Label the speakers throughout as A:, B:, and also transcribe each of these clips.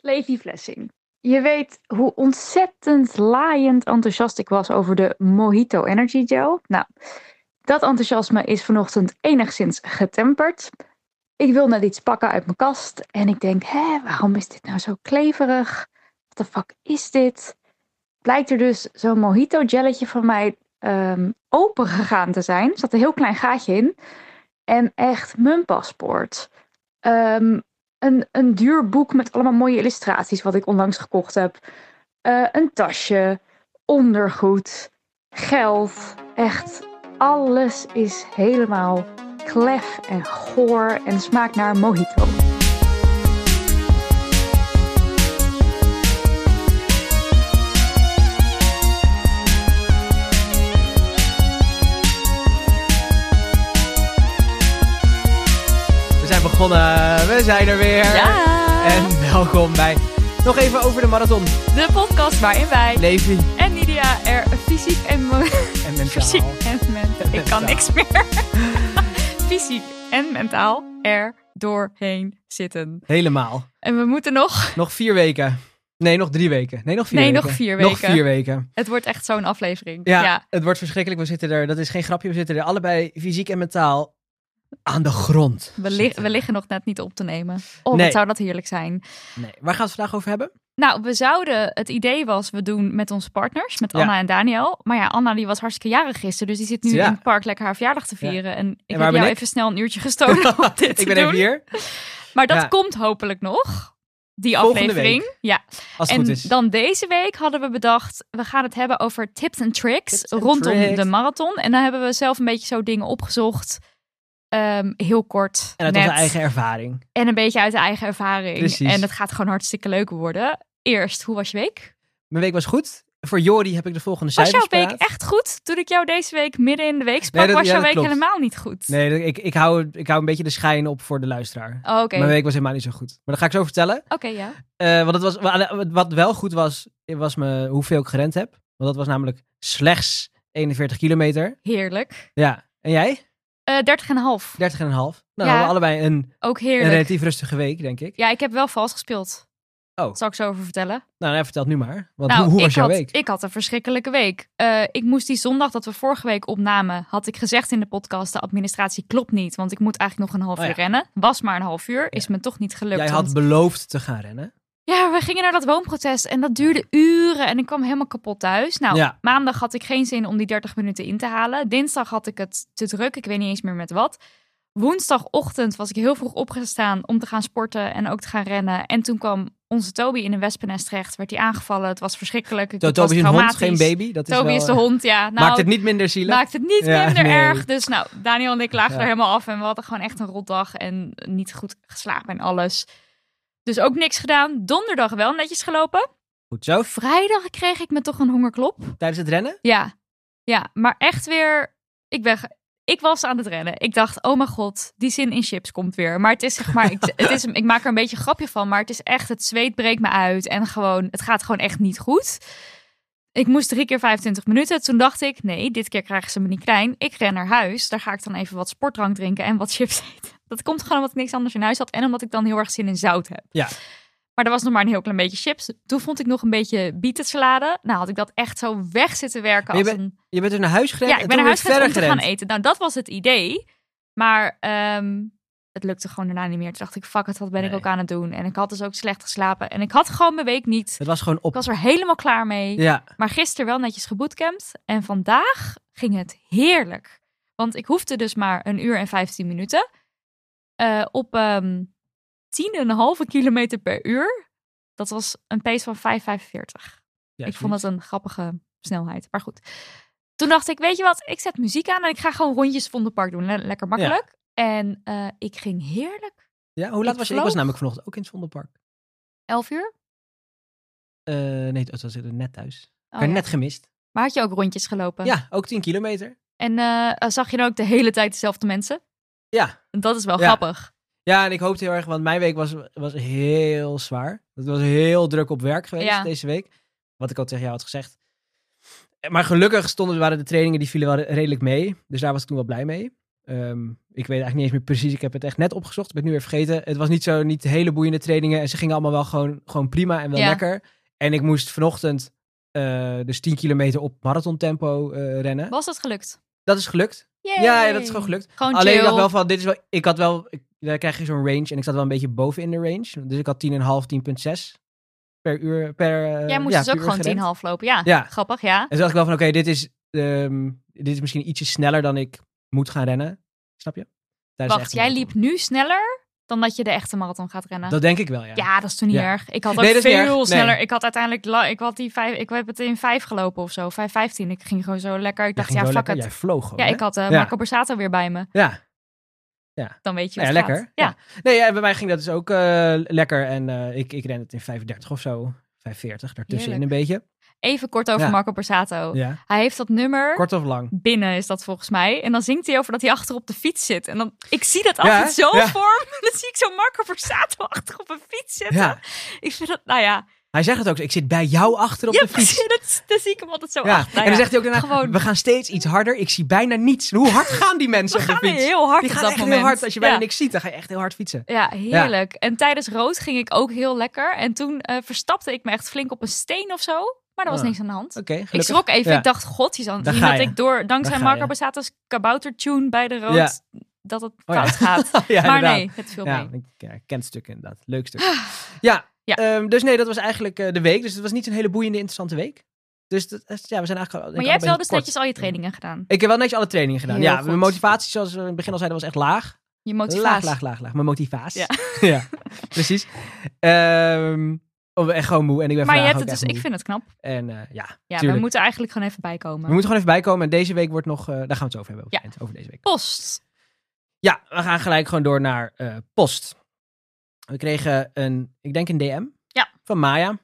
A: Levi Flessing. Je weet hoe ontzettend laaiend enthousiast ik was over de Mojito Energy Gel. Nou, dat enthousiasme is vanochtend enigszins getemperd. Ik wil net iets pakken uit mijn kast en ik denk, hè, waarom is dit nou zo kleverig? Wat de fuck is dit? Blijkt er dus zo'n mojito gelletje van mij ehm open gegaan te zijn. Er zat een heel klein gaatje in. En echt mijn paspoort. Ehm, een, een duur boek met allemaal mooie illustraties wat ik onlangs gekocht heb. Eh, een tasje, ondergoed, geld. Echt, alles is helemaal klef en goor en smaakt naar mojito.
B: We zijn begonnen, we zijn er weer.
C: Ja!
B: En welkom bij nog even over de marathon.
C: De podcast waarin wij
B: Levi
C: en Nidia er fysiek en mo-
B: en mentaal.
C: fysiek en mentaal. Ik kan niks meer. fysiek en mentaal er doorheen zitten.
B: Helemaal.
C: En we moeten nog.
B: Nog vier weken. Nee, nog drie weken. Nee, nog vier
C: Nee,
B: weken.
C: nog vier
B: Nog
C: weken.
B: vier weken.
C: Het wordt echt zo'n aflevering.
B: Ja, het wordt verschrikkelijk. We zitten er, dat is geen grapje, we zitten er allebei fysiek en mentaal aan de grond.
C: We, li-
B: zitten.
C: we liggen nog net niet op te nemen. Oh,
B: Nee.
C: wat zou dat heerlijk zijn.
B: Nee. Waar gaan we het vandaag over hebben?
C: Nou, we zouden, het idee was, we doen met onze partners, met
B: Ja.
C: Anna en Daniel. Maar ja, Anna die was hartstikke jarig gisteren, dus die zit nu
B: Ja.
C: in het park lekker haar verjaardag te vieren. En ik
B: waar
C: heb
B: ben
C: jou
B: ik?
C: even snel een uurtje gestolen Oh, om dit te
B: ik ben
C: doen.
B: even hier.
C: Maar dat
B: Ja.
C: komt hopelijk nog. Die
B: Volgende
C: aflevering. Ja.
B: Als het
C: En
B: goed is.
C: dan deze week hadden we bedacht, we gaan het hebben over tips en tricks
B: Tips and
C: rondom
B: tricks.
C: de marathon. En dan hebben we zelf een beetje zo dingen opgezocht. Ehm, heel kort.
B: en uit
C: net.
B: onze eigen ervaring.
C: En een beetje uit de eigen ervaring.
B: Precies.
C: En het gaat gewoon hartstikke leuk worden. Eerst, hoe was je week?
B: Mijn week was goed. Voor Jori heb ik de volgende
C: Was
B: cijfers
C: jouw week
B: paraat.
C: echt goed? Toen ik jou deze week midden in de week sprak,
B: dat-
C: was
B: ja,
C: jouw
B: dat
C: week
B: klopt.
C: helemaal niet goed.
B: Nee, dat- ik, ik, hou, ik hou een beetje de schijn op voor de luisteraar.
C: Oh, Oké,
B: Mijn week was helemaal niet zo goed. Maar dat ga ik zo vertellen.
C: Oké, ja.
B: Eh, want het was, wa- wat wel goed was, was me, hoeveel ik gerend heb. Want dat was namelijk slechts 41 kilometer.
C: Heerlijk.
B: Ja. En jij? 30,5.
C: Eh 30,5.
B: Nou, we
C: Ja.
B: hadden allebei een,
C: Ook
B: een
C: heerlijk.
B: relatief rustige week, denk ik.
C: Ja, ik heb wel vals gespeeld.
B: Oh.
C: Zal ik zo over vertellen?
B: Nou, nou, vertel het nu maar. Want
C: nou,
B: hoe, hoe
C: ik
B: was jouw
C: had,
B: week?
C: Ik had een verschrikkelijke week. Eh, ik moest die zondag dat we vorige week opnamen, had ik gezegd in de podcast, de administratie klopt niet, want ik moet eigenlijk nog een half
B: Oh ja.
C: uur rennen. Was maar een half uur, is
B: Ja.
C: me toch niet gelukt.
B: Jij
C: want-
B: had beloofd te gaan rennen.
C: Ja, we gingen naar dat woonprotest en dat duurde uren en ik kwam helemaal kapot thuis. Nou,
B: Ja.
C: maandag had ik geen zin om die 30 minuten in te halen. Dinsdag had ik het te druk, ik weet niet eens meer met wat. Woensdagochtend was ik heel vroeg opgestaan om te gaan sporten en ook te gaan rennen. En toen kwam onze Toby in een wespennest terecht, werd hij aangevallen. Het was verschrikkelijk, het
B: To-
C: was
B: Toby is een hond, geen
C: traumatisch.
B: baby. Dat
C: Toby
B: is, wel,
C: is de
B: eh,
C: hond, ja. Nou,
B: maakt het niet minder zielig.
C: maakt het niet
B: Ja,
C: minder
B: nee.
C: erg. Dus nou, Daniel en ik lagen
B: Ja.
C: er helemaal af en we hadden gewoon echt een rotdag en niet goed geslapen en alles. Dus ook niks gedaan. Donderdag wel netjes gelopen.
B: Goed zo.
C: Vrijdag kreeg ik me toch een hongerklop.
B: Tijdens het rennen?
C: Ja, ja, maar echt weer. Ik ben. ge- Ik was aan het rennen. Ik dacht, oh mijn god, die zin in chips komt weer. Maar het is zeg maar, ik, het is, ik maak er een beetje een grapje van, maar het is echt, het zweet breekt me uit en gewoon, het gaat gewoon echt niet goed. Ik moest drie keer 25 minuten. Toen dacht ik, nee, dit keer krijgen ze me niet klein. Ik ren naar huis. Daar ga ik dan even wat sportdrank drinken en wat chips eten. Dat komt gewoon omdat ik niks anders in huis had en omdat ik dan heel erg zin in zout heb.
B: Ja.
C: Maar er was nog maar een heel klein beetje chips. Toen vond ik nog een beetje bietensalade. Nou, had ik dat echt zo weg zitten werken.
B: Maar je
C: Als een...
B: Je bent dus naar huis gerend
C: Ja,
B: en
C: ik ben naar
B: toen
C: huis
B: weer
C: gegaan om te
B: verder
C: gaan
B: gerend.
C: eten. Nou, dat was het idee. Maar ehm, het lukte gewoon daarna niet meer. Toen dacht ik, fuck het, wat ben ik
B: Nee.
C: ook aan het doen? En ik had dus ook slecht geslapen. En ik had gewoon mijn week niet.
B: Het was gewoon
C: Ik
B: op.
C: was er helemaal klaar mee.
B: Ja.
C: Maar gisteren wel netjes gebootcampt. En vandaag ging het heerlijk. Want ik hoefde dus maar een uur en 15 minuten. eh, op ehm 10,5 kilometer per uur. Dat was een pace van 5,45
B: ja
C: ik vond dat een grappige snelheid. Maar goed. Toen dacht ik, weet je wat, ik zet muziek aan en ik ga gewoon rondjes Vondelpark doen. Le- lekker makkelijk. En eh, ik ging heerlijk.
B: Ja, hoe laat
C: Ik
B: was je? Ik
C: vloog.
B: was namelijk vanochtend ook in het Vondelpark.
C: Elf uur.
B: Eh, nee, het was er net thuis. Ik
C: Oh,
B: heb
C: ja. Oh.
B: net gemist.
C: Maar had je ook rondjes gelopen?
B: Ja, ook 10 kilometer.
C: En eh, zag je dan ook de hele tijd dezelfde mensen?
B: Ja.
C: Dat is wel
B: Ja.
C: grappig.
B: Ja, en ik hoopte heel erg, want mijn week was, was heel zwaar. Het was heel druk op werk geweest
C: Ja.
B: deze week. Wat ik al tegen jou had gezegd. Eh, Maar gelukkig stonden, waren de trainingen die vielen wel re- redelijk mee. Dus daar was ik toen wel blij mee. Eh, Ehm, ik weet eigenlijk niet eens meer precies. Ik heb het echt net opgezocht. Ik ben het nu weer vergeten. Het was niet zo, niet hele boeiende trainingen. En ze gingen allemaal wel gewoon, gewoon prima en wel
C: Ja.
B: lekker. En ik moest vanochtend eh, dus 10 kilometer op marathon tempo rennen.
C: Was dat gelukt?
B: Dat is gelukt. Ja, ja, dat is gewoon gelukt.
C: Gewoon
B: Alleen ik
C: chill.
B: dacht wel van, dit is wel, ik had wel, ik, daar krijg je zo'n range en ik zat wel een beetje boven in de range. Dus ik had 10,5, 10,6 per uur, per eh,
C: Jij moest
B: ja,
C: dus
B: per
C: ook
B: uur
C: gewoon
B: gerend.
C: 10,5 lopen. Ja,
B: Ja.
C: grappig, ja.
B: En toen dacht ik wel van, oké, dit, is, ehm, dit is misschien ietsje sneller dan ik moet gaan rennen. Snap je? Tijdens de
C: Wacht,
B: echte
C: jij
B: marathon.
C: liep nu sneller dan dat je de echte marathon gaat rennen?
B: Dat denk ik wel, ja.
C: Ja, dat is toen niet
B: Ja.
C: erg. Ik had ook
B: Nee, dat is niet erg.
C: veel
B: Nee.
C: sneller. Ik had uiteindelijk, la- ik had die vijf, ik heb het in vijf gelopen of zo, vijf vijftien. Ik ging gewoon zo lekker.
B: Jij
C: Ik dacht,
B: ging
C: ja,
B: zo
C: fuck
B: lekker.
C: het.
B: Jij vloog gewoon,
C: Ja,
B: hè?
C: ik had eh,
B: Ja.
C: Marco Borsato weer bij me.
B: Ja.
C: Dan weet je
B: Nou
C: wat
B: ja,
C: het
B: lekker.
C: gaat. Ja.
B: Nee, ja, bij mij ging dat dus ook eh, lekker. En eh, ik, ik ren het in 35 of zo. 45, daartussenin een beetje.
C: Even kort over
B: Ja.
C: Marco Borsato.
B: Ja.
C: Hij heeft dat nummer.
B: Kort of lang.
C: Binnen is dat volgens mij. En dan zingt hij over dat hij achter op de fiets zit. En dan, ik zie dat
B: Ja,
C: altijd
B: hè?
C: zo
B: Ja.
C: voor me. Dan zie ik zo Marco Borsato achter op een fiets zitten.
B: Ja.
C: Ik vind dat, nou ja.
B: Hij zegt het ook. zo, Ik zit bij jou achter op
C: ja,
B: de fiets.
C: precies. Dat, dan zie ik hem altijd zo
B: Ja,
C: achter.
B: en
C: Nou
B: dan
C: ja.
B: zegt hij ook daarna,
C: Gewoon-
B: we gaan steeds iets harder. Ik zie bijna niets. Hoe hard gaan die mensen
C: we
B: op
C: gaan
B: de fiets?
C: heel hard
B: die
C: op
B: gaan
C: dat
B: echt
C: moment.
B: heel hard. Als je
C: Ja.
B: bijna niks ziet, dan ga je echt heel hard fietsen.
C: Ja, heerlijk. En tijdens rood ging ik ook heel lekker. En toen eh, verstapte ik me echt flink op een steen of zo. Maar er was
B: Ah,
C: niks aan de hand.
B: Oké,
C: Ik
B: gelukkig.
C: schrok even.
B: Ja.
C: Ik dacht, god, je zal
B: Daar
C: zien
B: ga
C: dat
B: je.
C: ik door... Dankzij
B: ga
C: Marco
B: je.
C: Bassato's kaboutertune bij de rood...
B: Ja. Oh
C: dat het
B: ja.
C: fout gaat.
B: ja,
C: maar
B: inderdaad.
C: nee, het viel
B: Ja,
C: mee. Ah.
B: ik ja, ik ken het stuk inderdaad. Leuk stuk. ja,
C: Ja.
B: ehm, dus nee, dat was eigenlijk eh, de week. Dus het was niet een hele boeiende, interessante week. Dus dat, dat- ja, we zijn eigenlijk... al- denk
C: Maar
B: ik
C: jij hebt wel
B: allebei
C: dus
B: kort.
C: netjes al je trainingen gedaan.
B: Ik heb wel netjes alle trainingen gedaan.
C: Heel
B: ja,
C: goed.
B: mijn motivatie, zoals we in het begin al zeiden, was echt laag.
C: Je motivatie.
B: Laag, laag, laag, laag. Mijn motivatie.
C: Ja.
B: Ja, precies. Ehm oh, echt gewoon moe. En ik ben
C: Maar je
B: vandaag
C: hebt
B: ook
C: het
B: echt
C: dus, ik
B: moe.
C: vind het knap.
B: En eh, ja,
C: Ja,
B: Tuurlijk.
C: we moeten eigenlijk gewoon even bijkomen.
B: we moeten gewoon even bijkomen. En deze week wordt nog... eh, daar gaan we het over hebben. Over,
C: Ja.
B: het eind, over deze week.
C: Post.
B: Ja, we gaan gelijk gewoon door naar eh, post. We kregen een, ik denk een DM
C: Ja.
B: van Maya.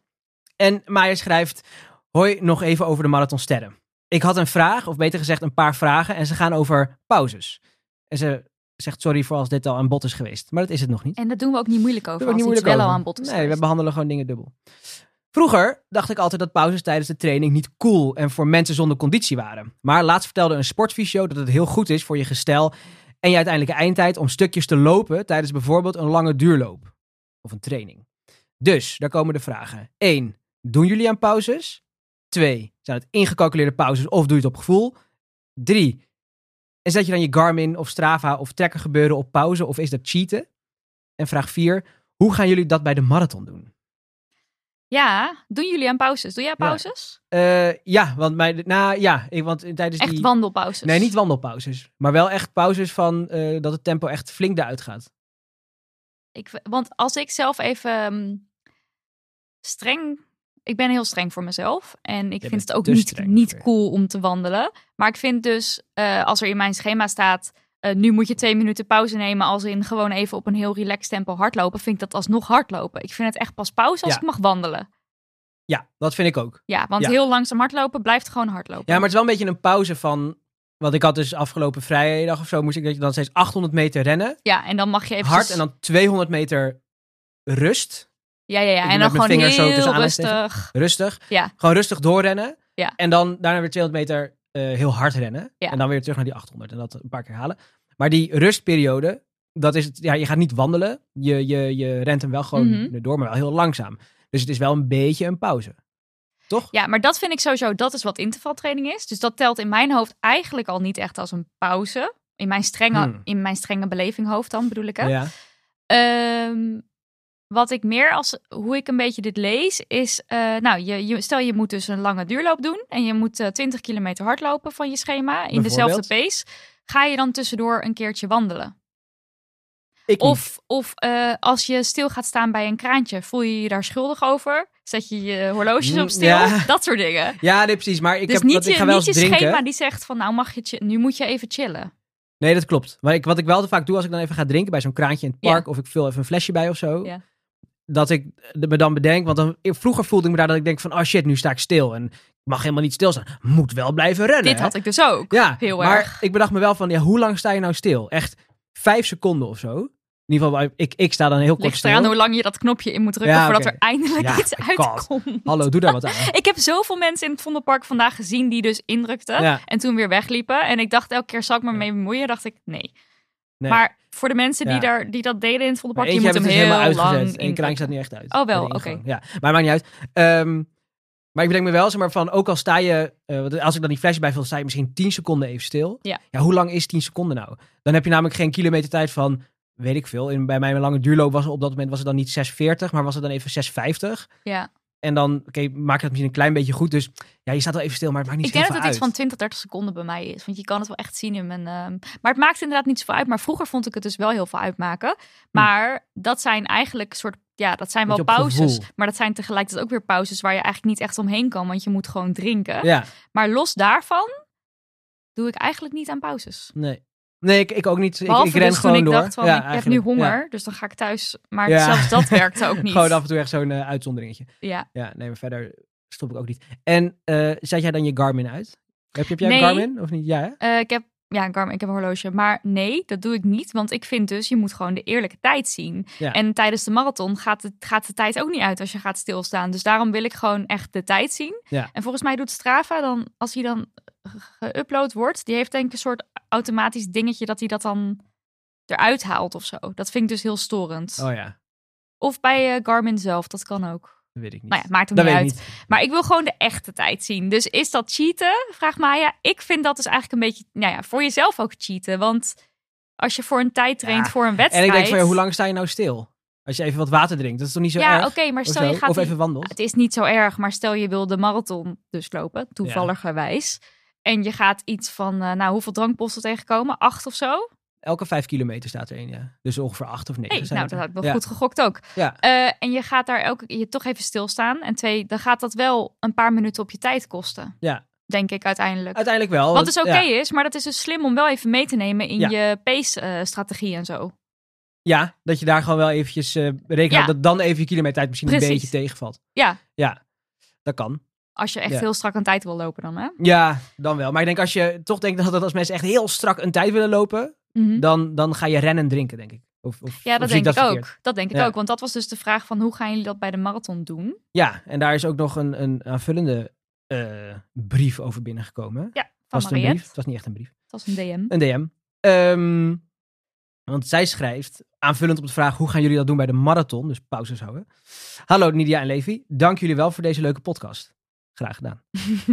B: En Maya schrijft, hoi, nog even over de Marathon Sterren. Ik had een vraag, of beter gezegd een paar vragen, en ze gaan over pauzes. En ze zegt sorry voor als dit al aan bod is geweest, maar dat is het nog niet.
C: En dat doen we ook niet moeilijk
B: Daar
C: over.
B: ben ik
C: Als
B: niet
C: iets
B: moeilijk
C: wel al
B: over.
C: aan bod is
B: Nee, we
C: geweest.
B: behandelen gewoon dingen dubbel. Vroeger dacht ik altijd dat pauzes tijdens de training niet cool en voor mensen zonder conditie waren. Maar laatst vertelde een sportfysio dat het heel goed is voor je gestel en je uiteindelijke eindtijd om stukjes te lopen tijdens bijvoorbeeld een lange duurloop of een training. Dus, daar komen de vragen. 1. Doen jullie aan pauzes? 2. Zijn het ingecalculeerde pauzes of doe je het op gevoel? 3. En zet je dan je Garmin of Strava of Trekker gebeuren op pauze of is dat cheaten? En vraag 4. Hoe gaan jullie dat bij de marathon doen?
C: Ja, doen jullie aan pauzes? Doe jij
B: Ja.
C: pauzes?
B: Eh, ja, want mijn, nou ja, ik, want tijdens
C: Echt
B: die...
C: wandelpauzes?
B: Nee, niet wandelpauzes. Maar wel echt pauzes van eh, dat het tempo echt flink eruit gaat.
C: Ik, want als ik zelf even ehm, streng. Ik ben heel streng voor mezelf. En ik
B: Jij
C: vind
B: bent
C: het ook
B: te
C: niet,
B: streng
C: niet
B: voor je.
C: cool om te wandelen. Maar ik vind dus, eh, als er in mijn schema staat. eh, nu moet je twee minuten pauze nemen. Als in gewoon even op een heel relaxed tempo hardlopen. Vind ik dat alsnog hardlopen. Ik vind het echt pas pauze als
B: Ja.
C: ik mag wandelen.
B: Ja, dat vind ik ook.
C: Ja, want
B: Ja.
C: heel langzaam hardlopen blijft gewoon hardlopen.
B: Ja, maar het is wel een beetje een pauze van... Want ik had dus afgelopen vrijdag of zo moest ik dan steeds 800 meter rennen.
C: Ja, en dan mag je even.
B: Hard en dan 200 meter rust.
C: Ja, ja, ja.
B: doe
C: En
B: met mijn
C: dan gewoon
B: vingers zo
C: heel
B: tussen aanhalingstekens.
C: rustig.
B: Rustig.
C: Ja.
B: Gewoon rustig doorrennen.
C: Ja.
B: En dan daarna weer 200 meter eh, heel hard rennen.
C: Ja.
B: En dan weer terug naar die 800 en dat een paar keer halen. Maar die rustperiode, dat is het, ja, je gaat niet wandelen. Je, je, je rent hem wel gewoon
C: Mhm.
B: door, maar wel heel langzaam. Dus het is wel een beetje een pauze. Toch?
C: Ja, maar dat vind ik sowieso, dat is wat intervaltraining is. Dus dat telt in mijn hoofd eigenlijk al niet echt als een pauze. In mijn strenge,
B: Hmm.
C: in mijn strenge beleving hoofd dan, bedoel ik hè.
B: Ja.
C: Ehm, wat ik meer als, hoe ik een beetje dit lees, is... eh, nou, je, je, stel je moet dus een lange duurloop doen. En je moet eh, 20 kilometer hardlopen van je schema in dezelfde pace. Ga je dan tussendoor een keertje wandelen?
B: Ik niet.
C: Of, of eh, als je stil gaat staan bij een kraantje, voel je je daar schuldig over? Zet je je horloges
B: Mm,
C: op stil?
B: ja.
C: Dat soort dingen.
B: Ja, nee, precies. Maar ik,
C: dus
B: heb,
C: niet,
B: wat- ik
C: je,
B: ga wel
C: niet
B: eens
C: je
B: drinken.
C: schema die zegt van nou mag je chi- nu moet je even chillen.
B: Nee, dat klopt. Maar ik, wat ik wel te vaak doe als ik dan even ga drinken bij zo'n kraantje in het
C: Ja.
B: park of ik vul even een flesje bij of zo.
C: Ja.
B: Dat ik de- me dan bedenk, want dan, vroeger voelde ik me daar dat ik denk van, oh shit, nu sta ik stil en ik mag helemaal niet stilstaan. Moet wel blijven rennen.
C: Dit
B: hè?
C: had ik dus ook.
B: ja,
C: heel
B: maar
C: erg.
B: ik bedacht me wel van, ja, hoe lang sta je nou stil? Echt vijf seconden of zo. In ieder geval, ik, ik sta dan heel kort
C: Ligt eraan
B: stil.
C: hoe lang je dat knopje in moet drukken
B: Ja,
C: voordat
B: oké.
C: er eindelijk
B: Ja,
C: iets
B: my God.
C: uitkomt.
B: Hallo, doe daar wat aan.
C: Ik heb zoveel mensen in het Vondelpark vandaag gezien die dus indrukten
B: Ja.
C: en toen weer wegliepen. En ik dacht elke keer, zal ik me
B: Ja.
C: mee bemoeien? Dacht ik, nee.
B: Nee.
C: Maar voor de mensen die,
B: Ja.
C: daar, die dat deden in het
B: Maar
C: Vondelpark, je
B: eentje
C: moet
B: hebben
C: hem
B: we
C: heel
B: dus helemaal
C: lang
B: uitgezet. Eén
C: indrukken.
B: kraanje staat niet echt uit.
C: Oh, wel,
B: Bij de ingang.
C: oké.
B: Ja, maar maakt niet uit. Ehm, maar ik bedenk me wel, zeg maar, van ook al sta je, eh, want als ik dan die flesje bij wil, sta je misschien 10 seconden even stil.
C: Ja.
B: hoe lang is 10 seconden nou? Dan heb je namelijk geen kilometertijd van, weet ik veel. In, bij mijn lange duurloop was het op dat moment was het dan niet 6,40, maar was het dan even 6,50.
C: Ja.
B: En dan, oké, maak je dat misschien een klein beetje goed. Dus ja, je staat wel even stil, maar het maakt niet
C: Ik denk
B: zoveel
C: dat het
B: uit.
C: iets van 20, 30 seconden bij mij is. Want je kan het wel echt zien in mijn... ehm, Maar het maakt inderdaad niet zoveel uit. Maar vroeger vond ik het dus wel heel veel
B: Hm.
C: uitmaken. Maar dat zijn eigenlijk soort... Ja, dat zijn wel
B: Beetje op
C: pauzes.
B: gevoel.
C: Maar dat zijn tegelijkertijd ook weer pauzes waar je eigenlijk niet echt omheen kan. Want je moet gewoon drinken.
B: Ja,
C: Maar los daarvan doe ik eigenlijk niet aan pauzes.
B: nee. Nee, ik, ik ook niet. Ik,
C: Behalve
B: ik ren
C: dus
B: gewoon
C: toen ik
B: door.
C: dacht van,
B: Ja,
C: ik heb nu
B: eigenlijk. Ja.
C: honger, dus dan ga ik thuis. Maar
B: Ja.
C: zelfs dat werkte ook niet.
B: Gewoon af en toe echt zo'n eh, uitzonderingetje.
C: Ja.
B: Ja, nee, maar verder stop ik ook niet. En eh, zet jij dan je Garmin uit? Heb, je- heb jij
C: Nee.
B: een Garmin of niet? Ja, hè?
C: Eh, ik heb, ja, een Garmin, ik heb een horloge. Maar nee, dat doe ik niet. Want ik vind dus, je moet gewoon de eerlijke tijd zien.
B: Ja.
C: En tijdens de marathon gaat, het, gaat de tijd ook niet uit als je gaat stilstaan. Dus daarom wil ik gewoon echt de tijd zien.
B: Ja.
C: En volgens mij doet Strava dan, als hij dan ge- geüpload wordt, die heeft denk ik een soort automatisch dingetje dat hij dat dan eruit haalt of zo. Dat vind ik dus heel storend.
B: Oh ja,
C: Of bij eh, Garmin zelf, dat kan ook.
B: dat weet ik niet.
C: Nou ja, maakt hem
B: dat
C: niet
B: weet
C: uit.
B: ik niet.
C: Maar ik wil gewoon de echte tijd zien. Dus is dat cheaten? Vraagt Maya. Ik vind dat dus eigenlijk een beetje, nou ja, voor jezelf ook cheaten. Want als je voor een tijd traint
B: Ja,
C: voor een
B: En
C: wedstrijd.
B: ik denk van, ja, hoe lang sta je nou stil? Als je even wat water drinkt, dat is toch niet zo
C: Ja,
B: erg?
C: oké, maar
B: of,
C: stel je
B: zo?
C: gaat.
B: of
C: die-
B: even wandelt.
C: Het is niet zo erg, maar stel je wil de marathon dus lopen, toevalligerwijs. En je gaat iets van, eh, nou, hoeveel drankposten tegenkomen? Acht of zo?
B: Elke vijf kilometer staat er één, ja. Dus ongeveer acht of negen.
C: Hey,
B: zijn
C: nou,
B: het er.
C: dat had ik wel
B: Ja.
C: goed gegokt ook.
B: Ja.
C: Eh, en je gaat daar elke je toch even stilstaan. En twee, dan gaat dat wel een paar minuten op je tijd kosten.
B: Ja.
C: Denk ik uiteindelijk.
B: Uiteindelijk wel.
C: Wat dus oké
B: Ja,
C: is, maar dat is dus slim om wel even mee te nemen in
B: Ja.
C: je pace-strategie en zo.
B: Ja, dat je daar gewoon wel eventjes eh rekening
C: Ja.
B: houdt dat dan even je kilometertijd misschien een
C: Precies.
B: beetje tegenvalt.
C: Ja.
B: Ja, dat kan.
C: Als je echt
B: Ja.
C: heel strak aan tijd wil lopen dan, hè?
B: Ja, dan wel. Maar ik denk als je toch denkt dat als mensen echt heel strak een tijd willen lopen,
C: Mhm.
B: dan, dan ga je rennen en drinken, denk ik. Of, of,
C: Ja,
B: of
C: dat
B: zie
C: denk ik ook.
B: verkeerd?
C: Dat denk ik
B: Ja.
C: ook, want dat was dus de vraag van hoe gaan jullie dat bij de marathon doen?
B: Ja, en daar is ook nog een, een aanvullende eh, brief over binnengekomen. hè?
C: Ja, van
B: was het een
C: Mariette.
B: brief? Het was niet echt een brief.
C: Dat was een DM.
B: Een DM. Ehm, want zij schrijft, aanvullend op de vraag hoe gaan jullie dat doen bij de marathon, dus pauzes houden. Hallo Nidia en Levi, dank jullie wel voor deze leuke podcast. Graag gedaan.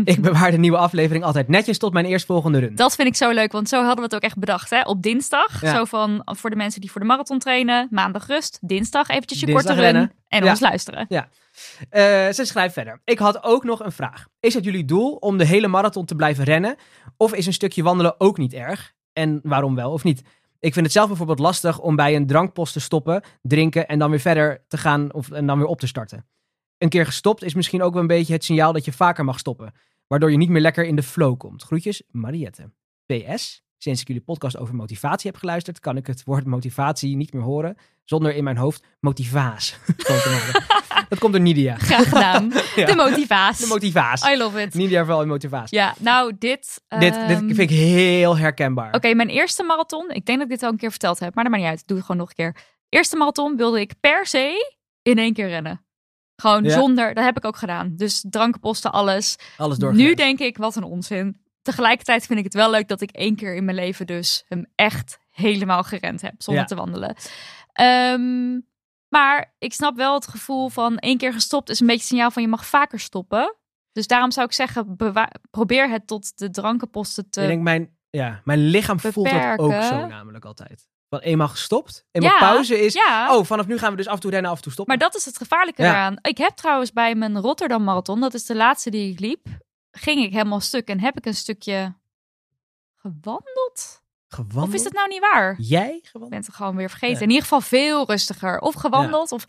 B: ik bewaar de nieuwe aflevering altijd netjes tot mijn eerstvolgende run.
C: Dat vind ik zo leuk, want zo hadden we het ook echt bedacht, hè? Op dinsdag,
B: Ja.
C: zo van voor de mensen die voor de marathon trainen, maandag rust, dinsdag eventjes je
B: Dinsdag
C: korte run
B: rennen.
C: en
B: Ja.
C: ons luisteren.
B: Eh, ze schrijft verder. Ik had ook nog een vraag. Is het jullie doel om de hele marathon te blijven rennen? Of is een stukje wandelen ook niet erg? En waarom wel of niet? Ik vind het zelf bijvoorbeeld lastig om bij een drankpost te stoppen, drinken en dan weer verder te gaan of, en dan weer op te starten. Een keer gestopt is misschien ook wel een beetje het signaal dat je vaker mag stoppen. Waardoor je niet meer lekker in de flow komt. Groetjes, Mariette. PS, sinds ik jullie podcast over motivatie heb geluisterd, kan ik het woord motivatie niet meer horen zonder in mijn hoofd motivaas van te maken. Dat komt door Nidia.
C: Graag gedaan.
B: Ja.
C: De motivaas.
B: De motivaas.
C: I love it.
B: Nidia vooral in motivatie.
C: Ja, nou dit...
B: Dit, dit
C: ehm,
B: vind ik heel herkenbaar.
C: Oké, mijn eerste marathon. Ik denk dat ik dit al een keer verteld heb, maar dat maakt niet uit. Ik Doe het gewoon nog een keer. Eerste marathon wilde ik per se in één keer rennen. Gewoon
B: Ja.
C: zonder, dat heb ik ook gedaan. Dus drankposten, alles.
B: Alles door.
C: Nu denk ik, wat een onzin. Tegelijkertijd vind ik het wel leuk dat ik één keer in mijn leven dus hem echt helemaal gerend heb. Zonder
B: Ja.
C: te wandelen. Ehm, maar ik snap wel het gevoel van één keer gestopt is een beetje een signaal van je mag vaker stoppen. Dus daarom zou ik zeggen, bewa- probeer het tot de drankenposten te
B: ik denk mijn, ja, mijn lichaam voelt dat ook
C: beperken.
B: zo namelijk altijd. Van eenmaal gestopt, eenmaal
C: Ja,
B: pauze is...
C: ja.
B: Oh, vanaf nu gaan we dus af en toe rennen, af en toe stoppen.
C: Maar dat is het gevaarlijke
B: Ja.
C: eraan. Ik heb trouwens bij mijn Rotterdam Marathon, dat is de laatste die ik liep, ging ik helemaal stuk en heb ik een stukje gewandeld.
B: Gewandeld?
C: Of is dat nou niet waar?
B: Jij
C: Ik
B: gewandeld?
C: ben het gewoon weer vergeten.
B: Ja.
C: In ieder geval veel rustiger. Of gewandeld, of...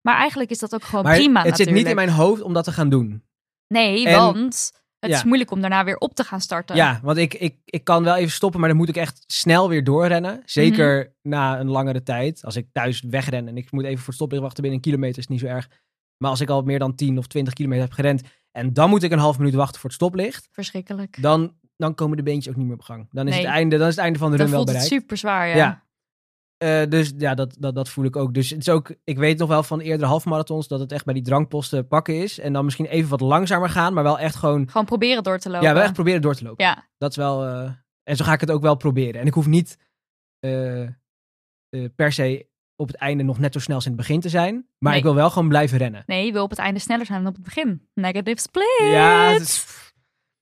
C: Maar eigenlijk is dat ook gewoon
B: Maar het
C: prima
B: zit
C: natuurlijk.
B: niet in mijn hoofd om dat te gaan doen.
C: Nee,
B: En-
C: want het
B: Ja.
C: is moeilijk om daarna weer op te gaan starten.
B: Ja, want ik, ik, ik kan wel even stoppen, maar dan moet ik echt snel weer doorrennen. Zeker na een langere tijd. Als ik thuis wegren en ik moet even voor het stoplicht wachten binnen een kilometer, is het niet zo erg. Maar als ik al meer dan 10 of 20 kilometer heb gerend en dan moet ik een half minuut wachten voor het stoplicht,
C: Verschrikkelijk.
B: dan, dan komen de beentjes ook niet meer op gang. Dan is,
C: Nee.
B: het, einde, dan is het einde van de
C: Dan
B: run wel
C: voelt het
B: bereikt.
C: super zwaar, ja.
B: Ja. Eh, dus ja, dat, dat, dat voel ik ook. Dus het is ook, ik weet nog wel van eerdere halfmarathons dat het echt bij die drankposten pakken is. En dan misschien even wat langzamer gaan, maar wel echt gewoon.
C: Gewoon proberen door te lopen.
B: Ja, wel echt proberen door te lopen.
C: eh, Ja.
B: Dat is wel. eh, en zo ga ik het ook wel proberen. En ik hoef niet eh, eh, per se op het einde nog net zo snel als in het begin te zijn. Maar
C: Nee.
B: ik wil wel gewoon blijven rennen.
C: Nee, je wil op het einde sneller zijn dan op het begin. Negative split.
B: Ja, het is-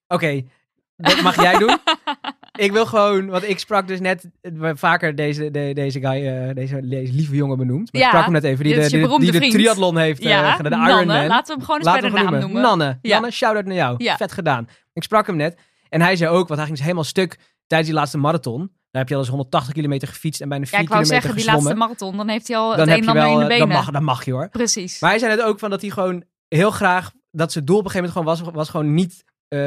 B: Oké, dat mag jij doen. Ik wil gewoon, want ik sprak dus net eh, vaker deze, de- deze guy, eh, deze, deze lieve jongen benoemd. Maar
C: Ja,
B: ik sprak hem net even, die
C: dit
B: de,
C: is je
B: die de-
C: beroemde
B: die de
C: vriend.
B: triathlon heeft eh,
C: Ja,
B: gedaan, de
C: Nanne.
B: Ironman.
C: Laten we hem gewoon eens
B: Laten
C: bij
B: we
C: de
B: hem
C: naam
B: noemen.
C: noemen.
B: Nanne,
C: Ja.
B: Nanne, shout-out naar jou.
C: Ja.
B: Vet gedaan. Ik sprak hem net en hij zei ook, want hij ging dus helemaal stuk tijdens die laatste marathon. Daar heb je al eens 180 kilometer gefietst en bijna 4
C: Ja, ik wou
B: kilometer
C: zeggen, die
B: gezwommen.
C: laatste marathon, dan heeft hij al
B: dan
C: het
B: heb
C: een
B: je
C: en ander
B: wel,
C: in de
B: eh,
C: benen.
B: dan mag, dan mag je hoor.
C: Precies.
B: Maar hij zei het ook van dat hij gewoon heel graag dat zijn doel op een gegeven moment gewoon was, was gewoon niet eh,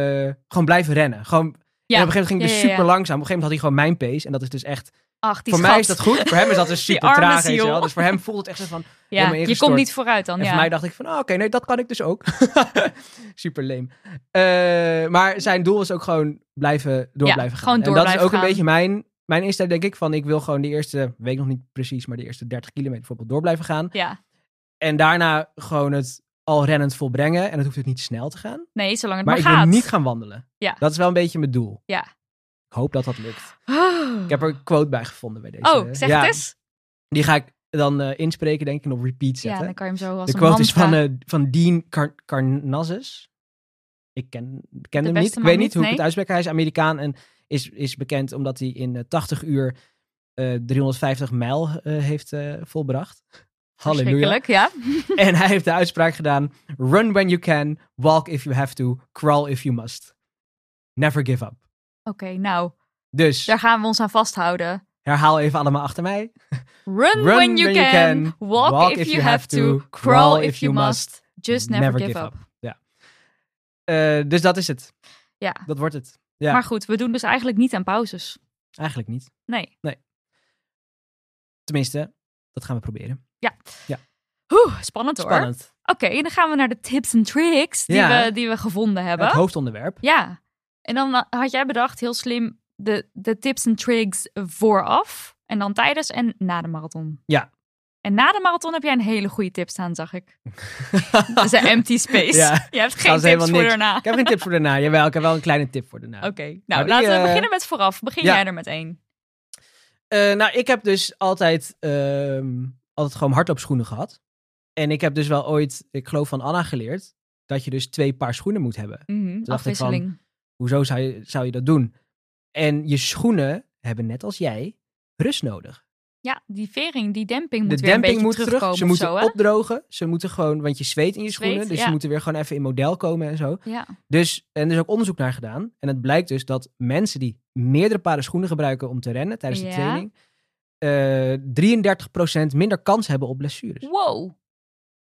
B: gewoon blijven rennen. Gewoon, en op een gegeven moment ging het
C: Ja,
B: dus
C: ja, ja.
B: super langzaam. Op een gegeven moment had hij gewoon mijn pace. En dat is dus echt.
C: Ach, die
B: voor
C: schat.
B: mij is dat goed. Voor hem is dat dus
C: Die
B: super
C: arme
B: traag. weet je
C: ziel.
B: wel. Dus voor hem voelt het echt zo van.
C: Ja,
B: helemaal
C: je
B: ingestort.
C: komt niet vooruit dan.
B: En
C: Ja.
B: voor mij dacht ik van, oh, oké, nee, dat kan ik dus ook. super leem. maar zijn doel was ook gewoon blijven, door
C: Ja,
B: blijven gaan.
C: gewoon door
B: en dat is
C: blijven
B: ook een
C: gaan.
B: beetje mijn, mijn insteek, denk ik. Van ik wil gewoon de eerste, weet ik nog niet precies, maar de eerste 30 kilometer bijvoorbeeld door blijven gaan.
C: Ja.
B: En daarna gewoon het al rennend volbrengen. En het hoeft het niet snel te gaan.
C: Nee, zolang het
B: Maar
C: maar,
B: ik
C: gaat.
B: wil niet gaan wandelen.
C: Ja.
B: Dat is wel een beetje mijn doel.
C: Ja.
B: Ik hoop dat dat lukt.
C: Oh.
B: Ik heb er een quote bij gevonden bij deze.
C: Oh, zeg
B: ja,
C: het eens.
B: Die ga ik dan eh, inspreken, denk ik, en op repeat
C: Ja,
B: zetten.
C: dan kan je hem zo als
B: de
C: een
B: quote is van,
C: mantra-
B: eh, van Dean Car Carnazes. Ik ken, ken hem
C: beste
B: niet. Ik
C: man
B: weet niet
C: niet,
B: hoe ik
C: nee.
B: het uitspreek. Hij is Amerikaan en is, is bekend omdat hij in eh, 80 uur eh, 350 mijl eh, heeft eh, volbracht. Halleluja.
C: Verschrikkelijk, ja.
B: En hij heeft de uitspraak gedaan: run when you can, walk if you have to, crawl if you must. Never give up.
C: Oké, nou,
B: Dus
C: daar gaan we ons aan vasthouden.
B: herhaal even allemaal achter mij.
C: Run, when you can, walk, if, you have to, crawl if you must, just never, give up.
B: Ja. Eh, dus dat is het.
C: Ja.
B: Dat wordt het. Ja,
C: Maar goed, we doen dus eigenlijk niet aan pauzes.
B: eigenlijk niet.
C: Nee.
B: Tenminste, dat gaan we proberen.
C: Oeh, spannend hoor.
B: Spannend.
C: Oké, dan gaan we naar de tips en tricks die,
B: Ja.
C: we, die we gevonden hebben.
B: Het hoofdonderwerp.
C: Ja. En dan eh, had jij bedacht, heel slim, de, de tips en tricks vooraf. En dan tijdens en na de marathon.
B: Ja.
C: En na de marathon heb jij een hele goede tip staan, zag ik. Dat is een empty space.
B: Ja.
C: Je hebt
B: Trouwens,
C: geen tips
B: helemaal
C: voor
B: niks.
C: daarna.
B: ik heb geen tips voor daarna. Jawel, ik heb wel een kleine tip voor daarna.
C: Oké,
B: Maar
C: nou
B: die,
C: laten we
B: eh,
C: beginnen met vooraf. Begin
B: ja.
C: jij er met één.
B: Eh, nou, ik heb dus altijd, ehm, altijd gewoon hardloopschoenen gehad. En ik heb dus wel ooit, ik geloof van Anna geleerd, dat je dus twee paar schoenen moet hebben.
C: Mhm,
B: dacht ik van,
C: afwisseling.
B: Hoezo zou je, zou je dat doen? En je schoenen hebben net als jij rust nodig.
C: Ja, die vering, die demping moet
B: de
C: weer
B: demping
C: een
B: moet
C: beetje
B: terug,
C: terugkomen
B: ze
C: of
B: moeten
C: zo, hè?
B: opdrogen. Ze moeten gewoon, want je zweet in je
C: Zweet,
B: schoenen, dus ze
C: ja.
B: moeten weer gewoon even in model komen en zo.
C: Ja.
B: Dus, en er is ook onderzoek naar gedaan. En het blijkt dus dat mensen die meerdere paren schoenen gebruiken om te rennen tijdens de
C: Ja.
B: training, eh 33% minder kans hebben op blessures.
C: Wow.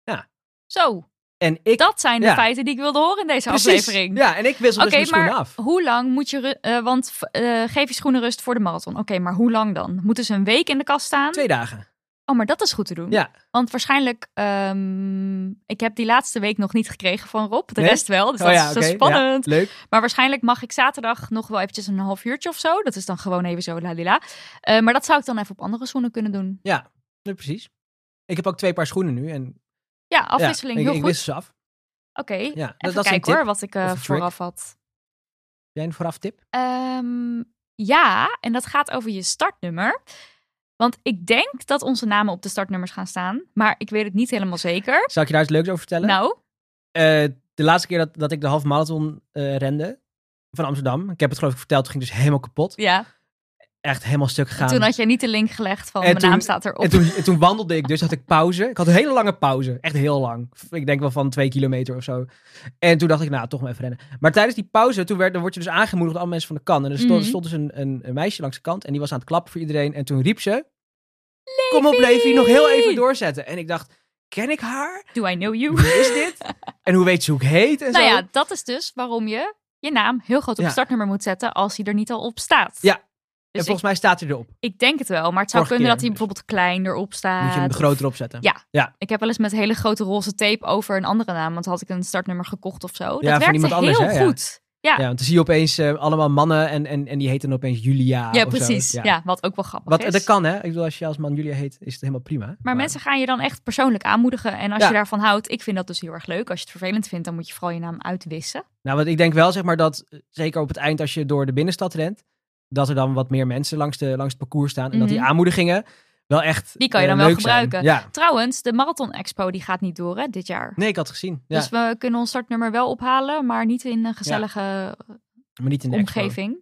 B: Ja.
C: Zo,
B: En ik.
C: dat zijn de
B: Ja.
C: feiten die ik wilde horen in deze
B: Precies.
C: aflevering.
B: Ja, en ik wissel
C: Oké,
B: dus mijn
C: maar
B: schoenen af.
C: hoe lang moet je... ru- eh, want v- eh, geef je schoenen rust voor de marathon. Oké, maar hoe lang dan? Moeten ze een week in de kast staan?
B: Twee dagen.
C: Oh, maar dat is goed te doen.
B: Ja.
C: Want waarschijnlijk... ehm, ik heb die laatste week nog niet gekregen van Rob. De
B: Nee?
C: rest wel, dus
B: Oh
C: dat
B: ja,
C: is zo
B: oké, ja.
C: spannend.
B: Leuk.
C: Maar waarschijnlijk mag ik zaterdag nog wel eventjes een half uurtje of zo. Dat is dan gewoon even zo lalila. Eh maar dat zou ik dan even op andere schoenen kunnen doen.
B: Ja, precies. Ik heb ook twee paar schoenen nu. En,
C: Ja,
B: ja,
C: afwisseling.
B: ik,
C: heel
B: ik
C: goed.
B: wissel ze af.
C: Oké,
B: Ja, dat-
C: even
B: dat is een
C: kijken
B: tip.
C: hoor wat ik eh,
B: Of een trick.
C: vooraf had.
B: Jij een vooraf tip?
C: Ehm, ja, en dat gaat over je startnummer. Want ik denk dat onze namen op de startnummers gaan staan. Maar ik weet het niet helemaal zeker.
B: Zal ik je daar iets leuks over vertellen?
C: Nou,
B: Eh, de laatste keer dat, dat ik de half marathon eh, rende van Amsterdam. Ik heb het geloof ik verteld. Toen ging ik dus helemaal kapot.
C: ja.
B: Echt helemaal stuk gegaan.
C: Toen had jij niet de link gelegd van
B: En
C: mijn
B: toen-
C: naam staat erop.
B: En toen, en toen wandelde ik dus, had ik pauze. Ik had een hele lange pauze. Echt heel lang. Ik denk wel van twee kilometer of zo. En toen dacht ik, nou, toch maar even rennen. Maar tijdens die pauze, toen werd, dan word je dus aangemoedigd door alle mensen van de kant. En er stond,
C: Mhm.
B: stond dus een, een, een meisje langs de kant en die was aan het klappen voor iedereen. En toen riep ze, kom op Levi, nog heel even doorzetten. En ik dacht, ken ik haar?
C: Do I know you?
B: Wie is dit? en hoe weet ze hoe ik heet en
C: nou
B: zo?
C: ja, dat is dus waarom je je naam heel groot op
B: Ja.
C: het startnummer moet zetten als hij er niet al op staat.
B: Ja, en
C: Dus
B: volgens mij staat hij erop.
C: ik, ik denk het wel, maar het zou
B: Vorige
C: kunnen dat
B: keer
C: hij bijvoorbeeld klein erop staat.
B: Moet je hem
C: of-
B: groter opzetten.
C: Ja, Ik heb wel eens met hele grote roze tape over een andere naam, want had ik een startnummer gekocht of zo.
B: van
C: dat werkte
B: iemand anders,
C: heel
B: hè? Ja.
C: goed. Ja.
B: want dan zie je opeens eh, allemaal mannen en, en, en die heten dan opeens Julia.
C: ja,
B: of zo.
C: precies. Ja. wat ook wel grappig
B: Wat,
C: is.
B: dat kan, hè? Ik bedoel, als je als man Julia heet, is het helemaal prima. Maar,
C: Maar mensen gaan je dan echt persoonlijk aanmoedigen. En als
B: Ja.
C: je daarvan houdt, ik vind dat dus heel erg leuk. Als je het vervelend vindt, dan moet je vooral je naam uitwissen.
B: Nou, want ik denk wel, zeg maar, dat eh, zeker op het eind als je door de binnenstad rent, dat er dan wat meer mensen langs, de, langs het parcours staan. En dat die
C: Mhm.
B: aanmoedigingen wel echt
C: Die kan je
B: eh,
C: dan wel
B: leuk zijn.
C: gebruiken.
B: Ja.
C: Trouwens, de Marathon Expo die gaat niet door hè, dit jaar.
B: Nee, ik had het gezien. Ja.
C: Dus we kunnen ons startnummer wel ophalen, maar niet in een gezellige
B: maar niet in de expo.
C: omgeving.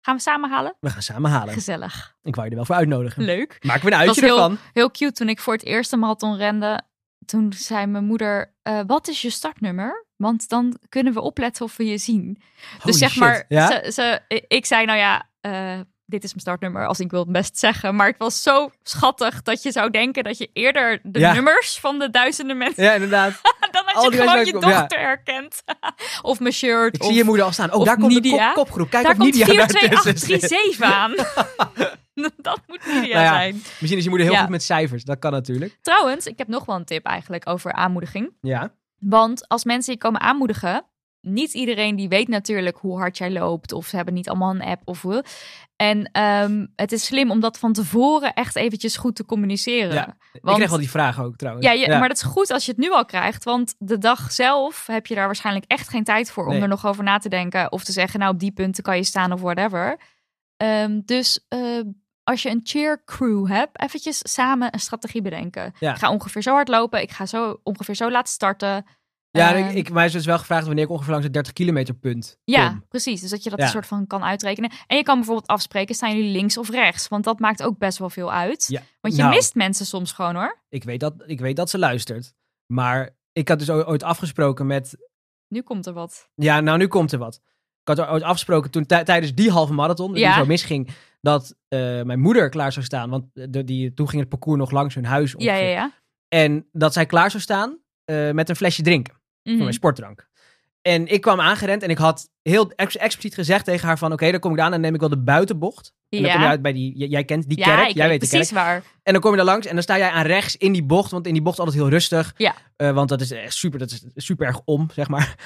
C: Gaan we samen halen?
B: We gaan samen halen.
C: Gezellig.
B: Ik wou je er wel voor uitnodigen.
C: Leuk.
B: Maken we een
C: was
B: uitje
C: heel-
B: ervan.
C: Heel cute, toen ik voor het eerst een marathon rende, toen zei mijn moeder, eh, wat is je startnummer? Want dan kunnen we opletten of we je zien.
B: Holy
C: Dus zeg
B: shit.
C: maar,
B: Ja?
C: ze, ze, ik- ik zei nou ja, eh, dit is mijn startnummer, als ik wil het best zeggen. Maar het was zo schattig dat je zou denken dat je eerder de
B: Ja.
C: nummers van de duizenden mensen...
B: ja, inderdaad.
C: dan dat
B: Al
C: je
B: die
C: gewoon je
B: mensen komen, ja.
C: dochter herkent. of mijn shirt.
B: Ik
C: of,
B: zie je moeder al staan. Oh,
C: of
B: daar komt
C: Nidia.
B: de kop- kopgroep. Kijk
C: daar
B: of
C: komt
B: Nidia daar tussen zit.
C: 42837 aan. dat moet Nidia
B: Nou ja.
C: zijn.
B: Misschien is je moeder heel
C: Ja.
B: goed met cijfers. Dat kan natuurlijk.
C: Trouwens, ik heb nog wel een tip eigenlijk over aanmoediging.
B: Ja.
C: Want als mensen je komen aanmoedigen, niet iedereen die weet natuurlijk hoe hard jij loopt of ze hebben niet allemaal een app of hoe. En ehm, het is slim om dat van tevoren echt eventjes goed te communiceren.
B: Ja, Ik
C: Want-
B: kreeg al die vragen ook trouwens.
C: Ja, je- maar dat is goed als je het nu al krijgt, want de dag zelf heb je daar waarschijnlijk echt geen tijd voor om
B: Nee.
C: er nog over na te denken of te zeggen, nou op die punten kan je staan of whatever. Ehm, dus eh, als je een cheer crew hebt, eventjes samen een strategie bedenken.
B: Ja.
C: Ik ga ongeveer zo hard lopen, ik ga zo ongeveer zo laat starten.
B: Ja,
C: Ehm,
B: ik, ik, mij is dus wel gevraagd wanneer ik ongeveer langs het 30 kilometer punt
C: Ja,
B: kom.
C: precies. Dus dat je dat
B: Ja.
C: een soort van kan uitrekenen. En je kan bijvoorbeeld afspreken, staan jullie links of rechts? Want dat maakt ook best wel veel uit.
B: Ja,
C: Want je
B: nou.
C: mist mensen soms gewoon hoor.
B: Ik weet, dat, ik weet dat ze luistert. Maar ik had dus oo- ooit afgesproken met...
C: Nu komt er wat.
B: Ja, nou nu komt er wat. Ik had ooit afgesproken toen tij- tijdens die halve marathon, die
C: Ja.
B: zo misging, dat eh, mijn moeder klaar zou staan. Want eh, de, die, toen ging het parcours nog langs hun huis.
C: Ja, ja,
B: ongeveer.
C: ja.
B: En dat zij klaar zou staan eh, met een flesje drinken.
C: Mhm.
B: voor mijn sportdrank. En ik kwam aangerend en ik had heel ex- expliciet gezegd tegen haar van... oké, dan kom ik aan en dan neem ik wel de buitenbocht. En dan
C: Ja.
B: kom je uit bij die... j- jij kent die
C: ja,
B: kerk,
C: ik
B: jij weet de kerk.
C: precies waar.
B: En dan kom je daar langs en dan sta jij aan rechts in die bocht. Want in die bocht is altijd heel rustig.
C: Ja.
B: Eh, want dat is echt super, dat is super erg om, zeg maar.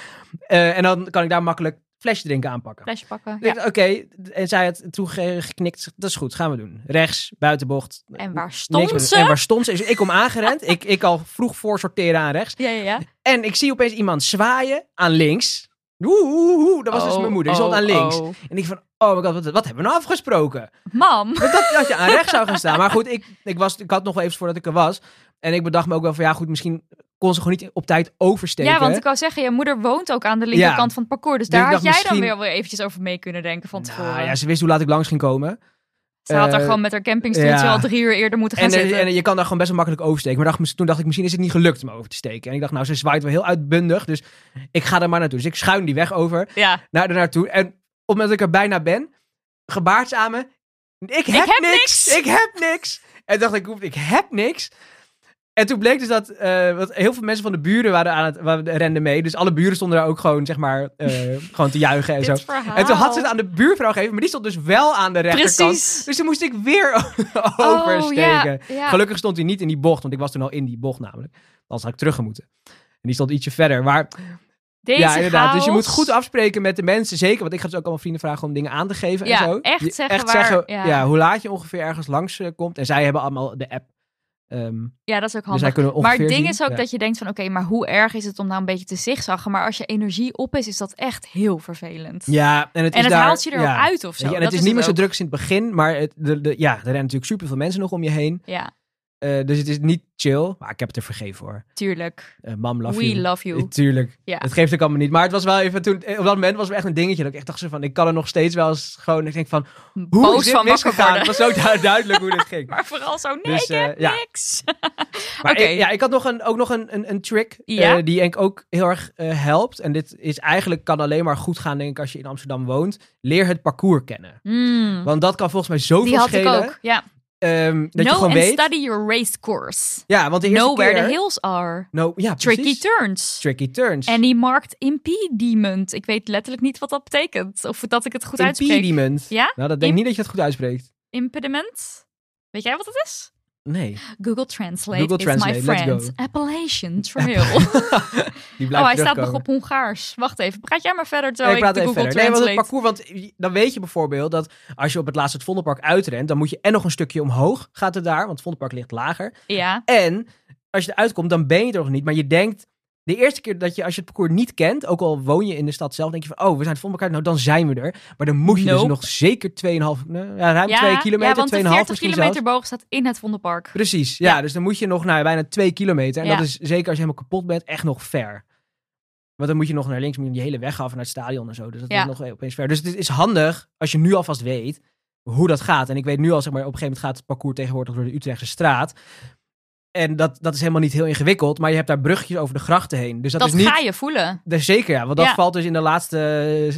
B: Eh, en dan kan ik daar makkelijk flesje drinken aanpakken.
C: Flesje pakken.
B: Ik
C: Ja.
B: dacht, Oké, en zij had toen ge- geknikt. zegt, Dat is goed, gaan we doen. Rechts, buitenbocht.
C: En waar
B: niks
C: stond
B: meer.
C: ze?
B: En waar stond ze? Dus ik kom aangerend. ik, ik al vroeg voor sorteren aan rechts.
C: Ja, ja, ja.
B: En ik zie opeens iemand zwaaien aan links. Oeh, oeh, oeh, dat was dus
C: Oh,
B: mijn moeder. Die stond
C: oh,
B: aan links.
C: oh.
B: En ik van, oh my god, wat, wat hebben we nou afgesproken?
C: Mam.
B: Dat, dat, dat je aan rechts zou gaan staan. Maar goed, ik, ik, was, ik had nog wel even voordat ik er was. En ik bedacht me ook wel van, ja goed, misschien kon ze gewoon niet op tijd oversteken.
C: Ja, want ik wou zeggen, je moeder woont ook aan de linkerkant van het parcours. Dus
B: Dus
C: daar
B: ik
C: had jij
B: dacht
C: dan
B: misschien-
C: weer wel eventjes over mee kunnen denken van
B: Nou,
C: tevoren.
B: ja, ze wist hoe laat ik langs ging komen.
C: ze had er
B: eh,
C: gewoon met haar campingstoeltje
B: ja.
C: al drie uur eerder moeten gaan
B: En, eh,
C: zitten.
B: en je kan daar gewoon best wel makkelijk oversteken. Maar dacht, toen dacht ik, misschien is het niet gelukt om over te steken. En ik dacht, nou, ze zwaait wel heel uitbundig. Dus ik ga er maar naartoe. Dus ik schuin die weg over.
C: ja.
B: naar er naartoe. En omdat ik er bijna ben, gebaart ze aan me. Ik heb,
C: heb
B: niks,
C: niks.
B: Ik heb niks. En dacht ik, ik heb niks. En toen bleek dus dat eh, want heel veel mensen van de buren waren aan het waren, renden mee. Dus alle buren stonden daar ook gewoon, zeg maar, eh, gewoon te juichen en zo.
C: Dit verhaal.
B: En toen had ze het aan de buurvrouw gegeven, maar die stond dus wel aan de rechterkant.
C: Precies.
B: Dus toen moest ik weer
C: Oh, ja,
B: oversteken.
C: ja.
B: Gelukkig stond hij niet in die bocht, want ik was toen al in die bocht namelijk. Anders had ik terug moeten. En die stond ietsje verder. Maar
C: Deze
B: ja, inderdaad. Dus je moet
C: chaos.
B: goed afspreken met de mensen. Zeker, want ik ga dus ook allemaal vrienden vragen om dingen aan te geven
C: Ja,
B: en zo.
C: echt
B: Je-
C: zeggen waar-
B: ja.
C: ja.
B: hoe laat je ongeveer ergens langs eh, komt. En zij hebben allemaal de app. Ehm
C: Ja, dat is ook
B: dus
C: handig.
B: zij kunnen ongeveer
C: Maar het ding
B: zien.
C: is ook
B: Ja.
C: dat je denkt van oké, maar hoe erg is het om nou een beetje te zigzaggen? Maar als je energie op is, is dat echt heel vervelend.
B: Ja, en het,
C: en
B: is
C: het
B: daar,
C: haalt je er
B: ja.
C: ook uit of zo.
B: Weet je, En
C: dat
B: het is niet meer zo
C: ook.
B: druk als in het begin, maar het, de, de- ja, er rennen natuurlijk superveel mensen nog om je heen.
C: Ja,
B: Eh, dus het is niet chill, maar ik heb het er vergeven hoor.
C: tuurlijk.
B: Eh, mam, love
C: We
B: you.
C: love you.
B: Eh, Tuurlijk.
C: Ja.
B: Het geeft ook allemaal niet. Maar het was wel even toen. eh, Op dat moment was het echt een dingetje. Dat ik echt dacht zo van. Ik kan er nog steeds wel eens gewoon. Ik denk van. Hoe
C: Boos
B: is dit
C: van wakker
B: misgegaan? Het
C: worden.
B: was zo du- duidelijk hoe dit ging.
C: Maar vooral zo, nee,
B: Dus,
C: ik heb
B: eh, ja.
C: niks.
B: Maar
C: Oké.
B: ik, ja, ik had nog een, ook nog een, een, een trick eh,
C: Ja?
B: die denk ik ook heel erg eh, helpt. En dit is eigenlijk kan alleen maar goed gaan denk ik als je in Amsterdam woont. Leer het parcours kennen.
C: Mm,
B: Want dat kan volgens mij zoveel
C: die had
B: schelen.
C: ik ook. Ja.
B: ehm, dat je
C: know
B: gewoon
C: and
B: weet.
C: study your race course.
B: Ja, want de eerste
C: Know where
B: keer.
C: the hills are.
B: No, ja,
C: Tricky
B: precies.
C: turns.
B: Tricky turns.
C: Any marked impediment. Ik weet letterlijk niet wat dat betekent. Of dat ik het goed uitspreek.
B: Impediment.
C: Ja?
B: Nou, dat denk ik
C: Im-
B: niet dat je dat goed uitspreekt.
C: Impediment. Weet jij wat het is?
B: Nee.
C: Google Translate
B: Google
C: is
B: Translate,
C: my
B: let's
C: friend.
B: go.
C: Appalachian Trail.
B: Die blijft
C: Oh, hij staat nog
B: terugkomen.
C: op Hongaars. Wacht even, praat jij maar verder
B: Nee,
C: terwijl
B: ik
C: ik,
B: praat
C: de
B: even
C: Google
B: verder. Nee, want het
C: Translate...
B: parcours, want dan weet je bijvoorbeeld dat als je op het laatste het Vondelpark uitrent, dan moet je en nog een stukje omhoog gaat het daar, want het Vondelpark ligt lager.
C: ja,
B: En als je eruit komt, dan ben je er nog niet. Maar je denkt, de eerste keer dat je, als je het parcours niet kent, ook al woon je in de stad zelf, denk je van, oh, we zijn het Vondelpark uit, nou dan zijn we er. Maar dan moet je dus
C: Nope.
B: nog zeker 2,5, nou, ja, ruim
C: ja,
B: 2 kilometer,
C: ja, want
B: 2,5
C: de 40
B: misschien
C: kilometer
B: zelfs.
C: boog staat in het Vondelpark.
B: Precies, ja,
C: Ja.
B: Dus dan moet je nog nou, ja, bijna 2 kilometer. En
C: Ja.
B: dat is zeker als je helemaal kapot bent, echt nog ver. Want dan moet je nog naar links, moet je die hele weg af naar het stadion en zo. Dus dat
C: Ja.
B: is nog opeens ver. Dus het is handig als je nu alvast weet hoe dat gaat. En ik weet nu al, zeg maar, op een gegeven moment gaat het parcours tegenwoordig door de Utrechtse straat. En dat, dat is helemaal niet heel ingewikkeld, maar je hebt daar bruggetjes over de grachten heen. Dus dat,
C: Dat,
B: is niet...
C: ga je voelen.
B: Dat is zeker, ja. Want dat
C: Ja.
B: valt dus in de laatste,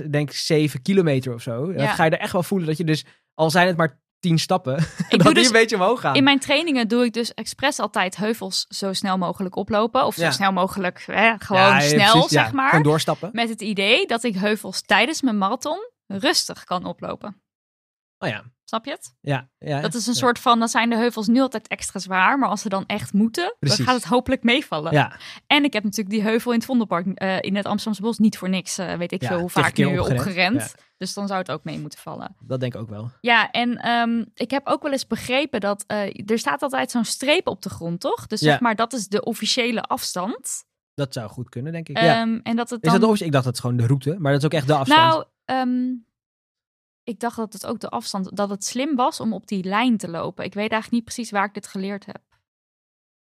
B: eh, denk ik, zeven kilometer of zo. En Dat
C: Ja.
B: ga je er echt wel voelen dat je dus, al zijn het maar tien stappen,
C: Ik
B: dat
C: doe
B: die
C: dus
B: een beetje omhoog gaan.
C: In mijn trainingen doe ik dus expres altijd heuvels zo snel mogelijk oplopen. Of zo
B: Ja.
C: snel mogelijk, hè, gewoon
B: Ja, ja,
C: snel,
B: precies, ja.
C: zeg maar.
B: Gewoon doorstappen.
C: Met het idee dat ik heuvels tijdens mijn marathon rustig kan oplopen.
B: Oh ja.
C: Snap je het?
B: Ja, ja.
C: Dat is een
B: ja.
C: soort van, dan zijn de heuvels nu altijd extra zwaar. Maar als ze dan echt moeten,
B: Precies.
C: dan gaat het hopelijk meevallen.
B: Ja,
C: En ik heb natuurlijk die heuvel in het Vondelpark, eh, in het Amsterdamse Bos, niet voor niks, eh, weet ik
B: Ja,
C: veel hoe
B: tig
C: vaak
B: keer
C: nu
B: opgerend.
C: opgerend.
B: Ja.
C: Dus dan zou het ook mee moeten vallen.
B: dat denk ik ook wel.
C: Ja, en ehm, ik heb ook wel eens begrepen dat eh, er staat altijd zo'n streep op de grond, toch? Dus
B: Ja.
C: zeg maar, dat is de officiële afstand.
B: Dat zou goed kunnen, denk ik. ja.
C: Ehm, en dat het
B: Is
C: dan...
B: dat de optie? Ik dacht dat is gewoon de route, maar dat is ook echt de afstand.
C: Nou, ehm, ik dacht dat het ook de afstand, dat het slim was om op die lijn te lopen. Ik weet eigenlijk niet precies waar ik dit geleerd heb.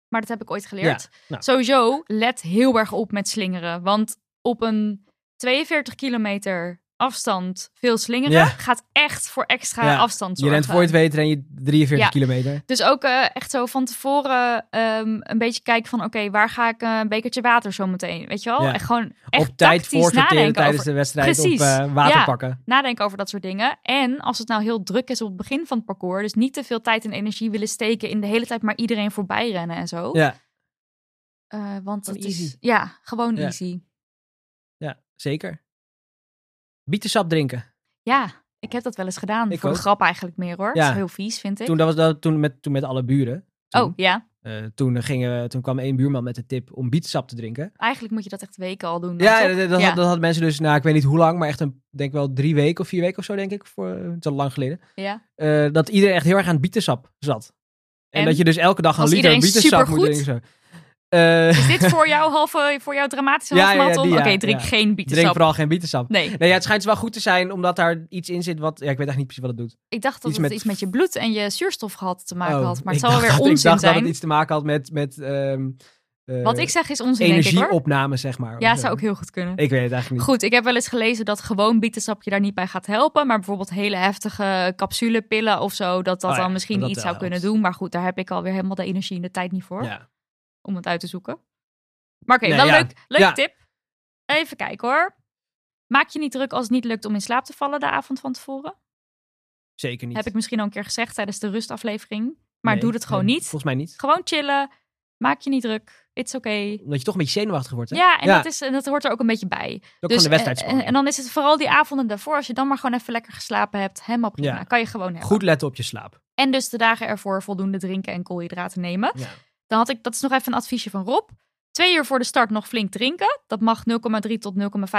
C: Maar dat heb ik ooit geleerd.
B: nou.
C: Sowieso, let heel erg op met slingeren. Want op een 42 kilometer afstand veel slingeren
B: Ja.
C: gaat echt voor extra
B: Ja, je
C: afstand zorgen.
B: rent voor je het weet ren je 43
C: Ja.
B: kilometer.
C: Dus ook eh, echt zo van tevoren ehm, een beetje kijken van... oké, waar ga ik eh, een bekertje water zo meteen? Weet je wel?
B: Ja.
C: En gewoon echt
B: op tijd
C: tactisch
B: voorsorteren
C: nadenken
B: tijdens
C: over
B: de wedstrijd
C: Precies,
B: op eh, water
C: ja.
B: pakken.
C: nadenken over dat soort dingen. En als het nou heel druk is op het begin van het parcours, dus niet te veel tijd en energie willen steken in de hele tijd maar iedereen voorbij rennen en zo.
B: Ja,
C: Eh, want
B: Gewoon
C: het
B: easy.
C: is ja, gewoon
B: Ja.
C: easy.
B: ja, zeker. Bietensap drinken.
C: Ja, ik heb dat wel eens gedaan.
B: Ik
C: voor
B: ook.
C: de grap eigenlijk meer hoor.
B: Ja.
C: Dat is heel vies, vind ik.
B: Toen, dat was, dat, toen, met, toen met alle buren. Toen,
C: Oh ja,
B: eh, toen, gingen, we- toen kwam één buurman met de tip om bietensap te drinken.
C: eigenlijk moet je dat echt weken al doen.
B: Ja,
C: toch?
B: dat, dat,
C: ja.
B: Had, dat hadden mensen dus, nou, ik weet niet hoe lang, maar echt een, denk wel drie weken of vier weken of zo, denk ik. Voor, eh, het is al lang geleden.
C: ja.
B: eh, dat iedereen echt heel erg aan het bietensap zat. En,
C: En?
B: dat je dus elke dag een
C: Was
B: liter
C: iedereen
B: bietensap moet
C: supergoed?
B: drinken. Zo. Eh,
C: Is dit voor jou halve, voor jou dramatische
B: Ja, ja, ja,
C: halfmarathon?
B: die, ja,
C: Oké, drink
B: ja.
C: geen
B: drink
C: bietensap.
B: vooral geen bietensap.
C: Nee,
B: Nee, ja, het schijnt wel goed te zijn, omdat daar iets in zit wat... Ja, ik weet eigenlijk niet precies wat het doet.
C: ik dacht dat
B: Iets
C: het
B: met-
C: iets met je bloed en je zuurstofgehalte te maken
B: Oh,
C: had. Maar
B: ik
C: het zal wel
B: dacht
C: weer
B: dat-
C: onzin
B: Ik dacht
C: zijn.
B: dat het iets te maken had met, met ehm, eh,
C: Wat ik zeg is onzin, denk ik hoor.
B: energieopname, zeg maar.
C: Ja,
B: Of zo.
C: zou ook heel goed kunnen.
B: Ik weet het eigenlijk niet.
C: Goed, ik heb wel eens gelezen dat gewoon bietensapje daar niet bij gaat helpen. Maar bijvoorbeeld hele heftige capsulepillen of zo, dat dat
B: Oh ja,
C: dan misschien
B: dat
C: iets
B: wel
C: zou kunnen
B: helpt.
C: doen. Maar goed, daar heb ik alweer helemaal de energie en de tijd niet voor
B: Ja.
C: om het uit te zoeken. Maar oké,
B: Nee,
C: wel
B: ja.
C: leuk, leuk
B: Ja.
C: tip. Even kijken hoor. Maak je niet druk als het niet lukt om in slaap te vallen de avond van tevoren.
B: Zeker niet.
C: Heb ik misschien al een keer gezegd tijdens de rustaflevering. Maar
B: Nee,
C: doe het gewoon
B: nee,
C: niet.
B: Volgens mij niet.
C: Gewoon chillen. Maak je niet druk. It's okay.
B: Omdat je toch een beetje zenuwachtig wordt, hè?
C: Ja, en,
B: Ja.
C: Dat is, en dat hoort er ook een beetje bij.
B: Ook gewoon de
C: eh, eh,
B: wedstrijdspanning.
C: en dan is het vooral die avonden daarvoor. Als je dan maar gewoon even lekker geslapen hebt, helemaal prima.
B: Ja.
C: Kan je gewoon hebben.
B: Goed letten op je slaap.
C: En dus de dagen ervoor voldoende drinken en koolhydraten nemen.
B: Ja.
C: Dan had ik, dat is nog even een adviesje van Rob. Twee uur voor de start nog flink drinken. Dat mag 0,3 tot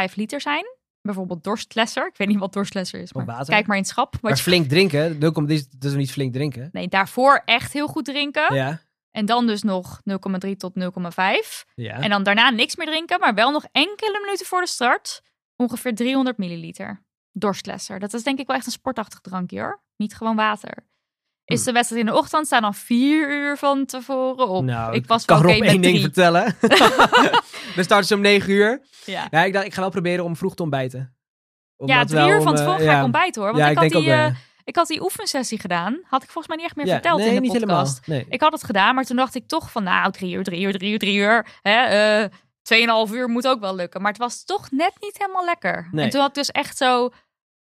C: 0,5 liter zijn. Bijvoorbeeld dorstlesser. Ik weet niet wat dorstlesser is,
B: Gewoon
C: maar
B: water.
C: kijk maar in het schap. Wat
B: Maar
C: je-
B: flink drinken, dat is dat is niet flink drinken.
C: Nee, daarvoor echt heel goed drinken.
B: Ja,
C: En dan dus nog 0,3 tot 0,5.
B: ja.
C: En dan daarna niks meer drinken, maar wel nog enkele minuten voor de start ongeveer 300 milliliter dorstlesser. Dat is denk ik wel echt een sportachtig drankje hoor. Niet gewoon water.
B: Hm.
C: Is de wedstrijd in de ochtend, staan dan vier uur van tevoren op.
B: Nou,
C: ik was
B: kan
C: wel oké
B: Rob
C: met
B: één ding
C: drie.
B: vertellen. We starten ze om negen uur.
C: Ja,
B: Ja, ik dacht, ik ga wel proberen om vroeg te ontbijten. Omdat
C: ja drie
B: wel
C: uur
B: om,
C: van
B: eh,
C: tevoren
B: ja.
C: ga ik ontbijten hoor. Want
B: ja,
C: ik, had
B: denk
C: die,
B: ook wel,
C: eh,
B: ja.
C: ik had die oefensessie gedaan. Had ik volgens mij niet echt meer
B: Ja,
C: verteld
B: nee,
C: in de
B: niet
C: podcast.
B: Helemaal. Nee.
C: Ik had het gedaan, maar toen dacht ik toch van nou, drie uur, drie uur, drie uur, drie uur. Hè, eh, tweeënhalf uur moet ook wel lukken. Maar het was toch net niet helemaal lekker.
B: Nee.
C: En toen had ik dus echt zo,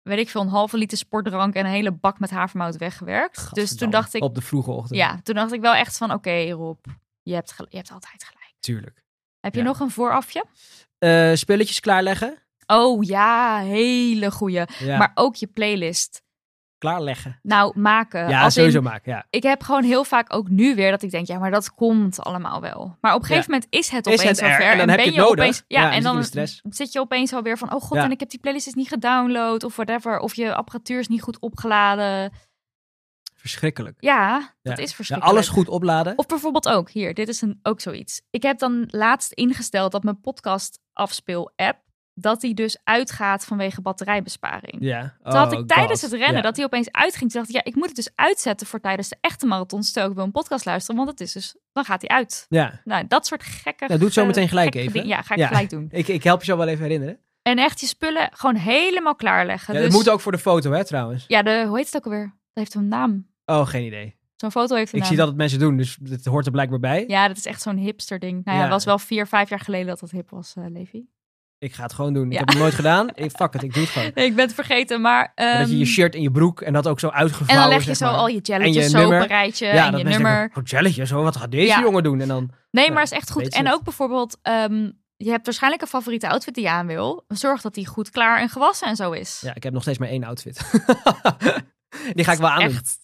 C: weet ik veel, een halve liter sportdrank en een hele bak met havermout weggewerkt. Dus toen
B: Gadverdamme.
C: dacht ik,
B: Op de vroege ochtend.
C: ja, toen dacht ik wel echt van oké Rob, je hebt, gel- je hebt altijd gelijk.
B: Tuurlijk.
C: Heb je
B: Ja.
C: nog een voorafje?
B: Eh, spulletjes klaarleggen.
C: Oh ja, hele goeie.
B: Ja.
C: Maar ook je playlist.
B: klaarleggen.
C: Nou, maken.
B: ja,
C: Als in,
B: sowieso maken. Ja.
C: ik heb gewoon heel vaak ook nu weer dat ik denk, ja, maar dat komt allemaal wel. Maar op een gegeven moment is het
B: Is
C: opeens
B: het er,
C: zover.
B: en dan heb
C: ben
B: je het nodig.
C: Opeens, ja,
B: Ja, dan
C: en
B: zit je in
C: dan
B: de stress.
C: zit je opeens alweer van, oh god,
B: Ja.
C: en ik heb die playlist is niet gedownload of whatever. Of je apparatuur is niet goed opgeladen.
B: Verschrikkelijk.
C: Ja,
B: Ja.
C: dat is
B: Ja,
C: verschrikkelijk.
B: alles goed opladen.
C: Of bijvoorbeeld ook, hier, dit is een, ook zoiets. Ik heb dan laatst ingesteld dat mijn podcast afspeel app, dat die dus uitgaat vanwege batterijbesparing.
B: ja.
C: Toen had
B: Oh,
C: ik tijdens
B: God.
C: het rennen
B: Ja.
C: dat hij opeens uitging. Toen dacht ik, ja, ik moet het dus uitzetten voor tijdens de echte marathon. Stel ik wil een podcast luisteren, want het is dus, dan gaat hij uit.
B: Ja.
C: Nou, dat soort gekke...
B: Nou, doe het zo
C: ge-
B: meteen gelijk
C: eh, gekke
B: even.
C: dingen. Ja, ga ik
B: Ja.
C: gelijk doen.
B: Ik, ik help je zo wel even herinneren.
C: En echt je spullen gewoon helemaal klaarleggen.
B: Ja,
C: dus,
B: Dat moet ook voor de foto, hè, trouwens.
C: Ja, de, hoe heet het ook alweer? Dat heeft een naam.
B: Oh, geen idee.
C: Zo'n foto heeft een
B: Ik
C: naam.
B: zie dat het mensen doen, dus het hoort er blijkbaar bij.
C: Ja, dat is echt zo'n hipster ding. Nou ja,
B: Ja.
C: was wel vier, vijf jaar geleden dat dat hip was, eh, Levi.
B: Ik ga het gewoon doen. Ik
C: Ja.
B: heb het nooit gedaan. Ik, fuck het, ik doe het gewoon.
C: Nee, ik ben het vergeten, maar...
B: En dat je je
C: ehm,
B: shirt en je broek en dat ook zo uitgevouwen.
C: en dan leg je
B: zeg
C: zo
B: maar.
C: al je
B: En
C: jelletjes
B: je
C: zo op
B: nummer.
C: een rijtje
B: ja,
C: en
B: dat
C: je
B: mensen
C: nummer.
B: denken, oh, jelletje, zo, wat gaat deze
C: Ja.
B: jongen doen? En dan,
C: Nee,
B: Ja,
C: maar is echt goed.
B: weet
C: En
B: het.
C: ook bijvoorbeeld, ehm, je hebt waarschijnlijk een favoriete outfit die je aan wil. Zorg dat die goed klaar en gewassen en zo is.
B: ja, ik heb nog steeds maar één outfit. Die ga ik wel
C: Dat is
B: aandoen.
C: Echt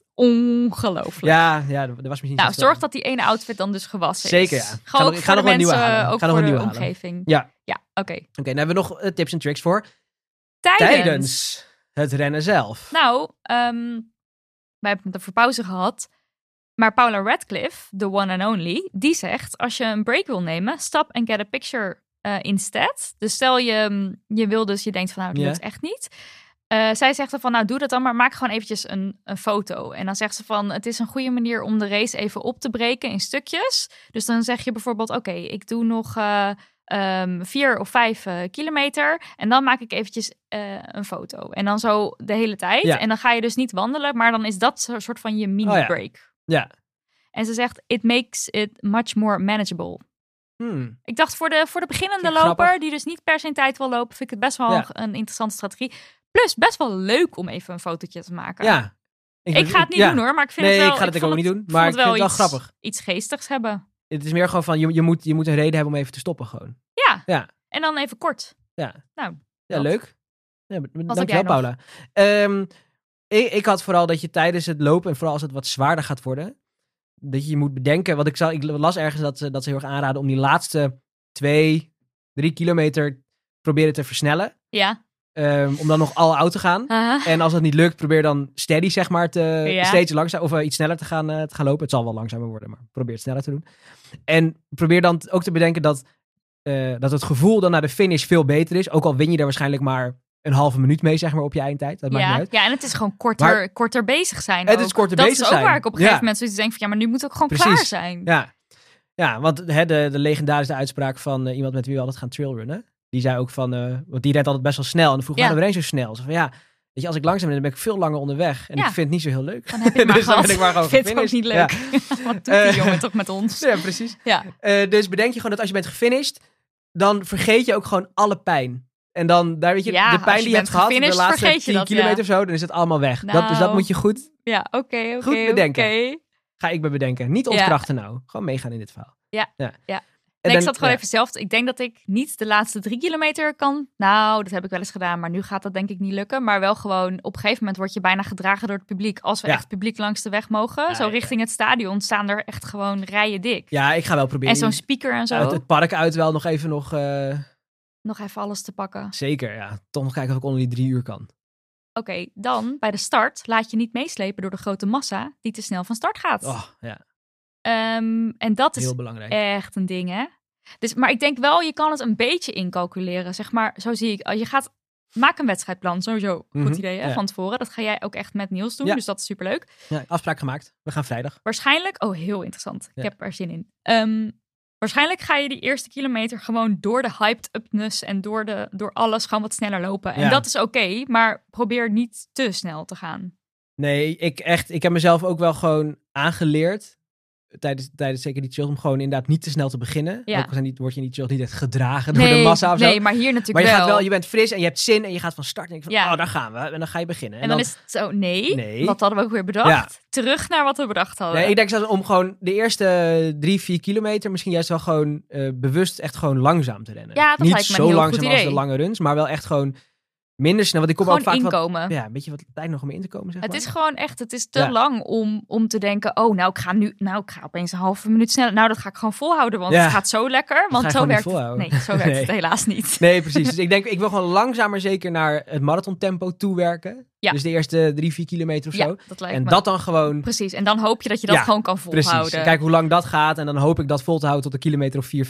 C: ongelooflijk.
B: Ja, ja, er er was misschien
C: nou,
B: iets te
C: zorg dat die ene outfit dan dus gewassen
B: Zeker,
C: is.
B: ja. Ik ga
C: Gewoon
B: nog-
C: ook
B: ik ga
C: voor
B: nog wel een
C: de
B: nieuwe
C: mensen,
B: halen.
C: ook
B: Ik ga nog
C: voor
B: wel
C: de
B: een nieuwe halen.
C: omgeving.
B: Ja.
C: Ja, oké.
B: Oké, dan hebben we nog eh, tips en tricks voor
C: Tijdens.
B: tijdens het rennen zelf.
C: Nou, ehm wij hebben het over pauze gehad. Maar Paula Radcliffe, the one and only, die zegt... als je een break wil nemen, stop and get a picture eh, instead. Dus stel je, mm, je wil dus, je denkt van nou, dat
B: Ja.
C: lukt echt niet. Eh, zij zegt dan van nou, doe dat dan, maar maak gewoon eventjes een, een foto. En dan zegt ze van het is een goede manier om de race even op te breken in stukjes. Dus dan zeg je bijvoorbeeld oké, ik doe nog... eh, ehm, vier of vijf eh, kilometer. En dan maak ik eventjes eh, een foto. En dan zo de hele tijd.
B: Ja.
C: En dan ga je dus niet wandelen, maar dan is dat een soort van je
B: Oh ja.
C: mini-break.
B: Ja.
C: En ze zegt, it makes it much more manageable.
B: Hmm.
C: Ik dacht, voor de, voor de beginnende
B: Vind ik
C: loper,
B: grappig.
C: die dus niet per se in tijd wil lopen, vind ik het best wel
B: Ja.
C: een- een interessante strategie. Plus, best wel leuk om even een fotootje te maken.
B: Ja.
C: Ik ga het niet
B: ja.
C: doen hoor, maar ik vind
B: Nee,
C: het wel...
B: ik ga dat ook
C: vond
B: niet
C: het-
B: doen,
C: vond
B: maar ik
C: het
B: vind het wel
C: iets,
B: grappig.
C: iets geestigs hebben.
B: Het is meer gewoon van, je, je, moet, je moet een reden hebben om even te stoppen gewoon.
C: Ja.
B: Ja.
C: En dan even kort.
B: Ja,
C: Dat.
B: leuk. Ja, b-
C: heb jij
B: dankjewel,
C: nog?
B: Paula. Ehm, ik, ik had vooral dat je tijdens het lopen, en vooral als het wat zwaarder gaat worden, dat je je moet bedenken. Want ik, zal, ik las ergens dat ze, dat ze heel erg aanraden om die laatste twee, drie kilometer proberen te versnellen.
C: Ja.
B: Ehm, om dan nog al out te gaan.
C: Haha.
B: En als dat niet lukt, probeer dan steady, zeg maar, te,
C: Ja.
B: steeds langzaam of eh, iets sneller te gaan, eh, te gaan lopen. Het zal wel langzamer worden, maar probeer het sneller te doen. En probeer dan t- ook te bedenken dat, eh, dat het gevoel dan naar de finish veel beter is. Ook al win je er waarschijnlijk maar een halve minuut mee, zeg maar, op je eindtijd. Dat maakt niet
C: ja,
B: uit.
C: ja, en het is gewoon korter,
B: Maar-
C: korter bezig zijn.
B: Het
C: ook.
B: is korter
C: dat
B: bezig
C: is ook
B: zijn.
C: waar ik op een gegeven
B: Ja.
C: moment zoiets denk van... ja, maar nu moet ik gewoon
B: Precies.
C: klaar zijn.
B: Ja, ja want hè, de, de legendarische uitspraak van eh, iemand met wie we altijd gaan trailrunnen. Die zei ook van, eh, want die rent altijd best wel snel. En dan vroeg
C: Ja.
B: waarom ren je zo snel? Ze van ja, weet je, als ik langzaam ben, dan ben ik veel langer onderweg. En
C: Ja.
B: ik vind het niet zo heel leuk.
C: Dan heb je het maar
B: Dus dan
C: gehad.
B: ben ik maar gewoon
C: vind het ook
B: gefinished.
C: niet leuk. Wat doet die
B: Eh,
C: jongen toch met ons?
B: Ja, precies.
C: Ja.
B: Eh, dus bedenk je gewoon dat als je bent gefinished, dan vergeet je ook gewoon alle pijn. En dan, daar weet je,
C: Ja,
B: de
C: als
B: pijn
C: je
B: die je
C: bent
B: hebt gehad, de
C: gefinished,
B: laatste
C: vergeet je
B: 10
C: dat, ja.
B: kilometer of zo, dan is het allemaal weg. Dat, dus dat
C: Nou.
B: moet je goed,
C: Ja, oké, oké.
B: Goed bedenken.
C: oké.
B: ga ik me bedenken. Niet
C: Ja.
B: ontkrachten nou. Gewoon meegaan in dit verhaal.
C: Ja,
B: ja.
C: ja.
B: En dan-
C: Nee, ik zat gewoon
B: ja.
C: even zelf. Ik denk dat ik niet de laatste drie kilometer kan. Nou, dat heb ik wel eens gedaan, maar nu gaat dat denk ik niet lukken. Maar wel gewoon, op een gegeven moment word je bijna gedragen door het publiek. Als we
B: Ja.
C: echt publiek langs de weg mogen,
B: Ja,
C: zo
B: ja, ja.
C: richting het stadion, staan er echt gewoon rijen dik.
B: Ja, ik ga wel proberen.
C: En zo'n speaker en zo.
B: uit het park uit wel nog even nog, eh,
C: Nog even alles te pakken.
B: zeker ja. Toch nog kijken of ik onder die drie uur kan.
C: Oké, dan bij de start laat je niet meeslepen door de grote massa die te snel van start gaat.
B: Oh, ja,
C: Ehm, en dat is
B: heel belangrijk.
C: echt een ding, hè? Dus, maar ik denk wel, je kan het een beetje incalculeren. Zeg maar, zo zie ik. eh, Je gaat, maak een wedstrijdplan, sowieso. Goed
B: Mhm,
C: idee, hè?
B: ja.
C: Van tevoren. Dat ga jij ook echt met Niels doen,
B: Ja.
C: dus dat is superleuk.
B: Ja, afspraak gemaakt. We gaan vrijdag.
C: Waarschijnlijk, oh, heel interessant.
B: Ja.
C: Ik heb er zin in. Ehm, waarschijnlijk ga je die eerste kilometer gewoon door de hyped upness en door, de, door alles gewoon wat sneller lopen. En
B: Ja.
C: dat is oké, maar probeer niet te snel te gaan.
B: Nee, ik echt. Ik heb mezelf ook wel gewoon aangeleerd. Tijdens, tijdens zeker die chills om gewoon inderdaad niet te snel te beginnen.
C: Ja.
B: Ook al zijn die, word je niet chills niet echt gedragen door de massa of zo.
C: Nee, maar hier
B: maar
C: natuurlijk
B: je,
C: wel.
B: gaat wel, je bent fris en je hebt zin en je gaat van start. En ik van,
C: Ja.
B: oh, daar gaan we. En dan ga je beginnen.
C: en, dan, is het zo, nee,
B: Nee.
C: wat hadden we ook weer bedacht? Terug naar wat we bedacht hadden.
B: Nee, ik denk zelfs om gewoon de eerste drie, vier kilometer misschien juist wel gewoon eh, bewust echt gewoon langzaam te rennen.
C: Ja, dat
B: Niet
C: lijkt me een
B: zo
C: heel
B: langzaam
C: goed
B: als de
C: idee.
B: lange runs, maar wel echt gewoon minder snel. Want ik kom ook
C: Gewoon
B: vaak wat,
C: inkomen.
B: ja, een beetje wat tijd nog om in te komen, zeg
C: Het
B: maar.
C: is gewoon echt, het is te
B: Ja.
C: lang om, om te denken, oh nou ik ga nu, nou ik ga opeens een halve minuut sneller. Nou dat ga ik gewoon volhouden, want
B: Ja.
C: het gaat zo lekker.
B: ga je
C: Want zo
B: gewoon niet
C: werkt, het,
B: volhouden.
C: nee, zo werkt
B: Nee.
C: het helaas niet.
B: Nee, precies. Dus ik denk, ik wil gewoon langzaam maar zeker naar het marathontempo toewerken.
C: Ja.
B: Dus de eerste drie, vier kilometer of
C: ja,
B: zo.
C: dat lijkt
B: En
C: me.
B: dat dan gewoon,
C: Precies, en dan hoop je dat je dat
B: Ja,
C: gewoon kan volhouden.
B: precies. En Kijk hoe lang dat gaat. En dan hoop ik dat vol te houden tot een kilometer of 4,35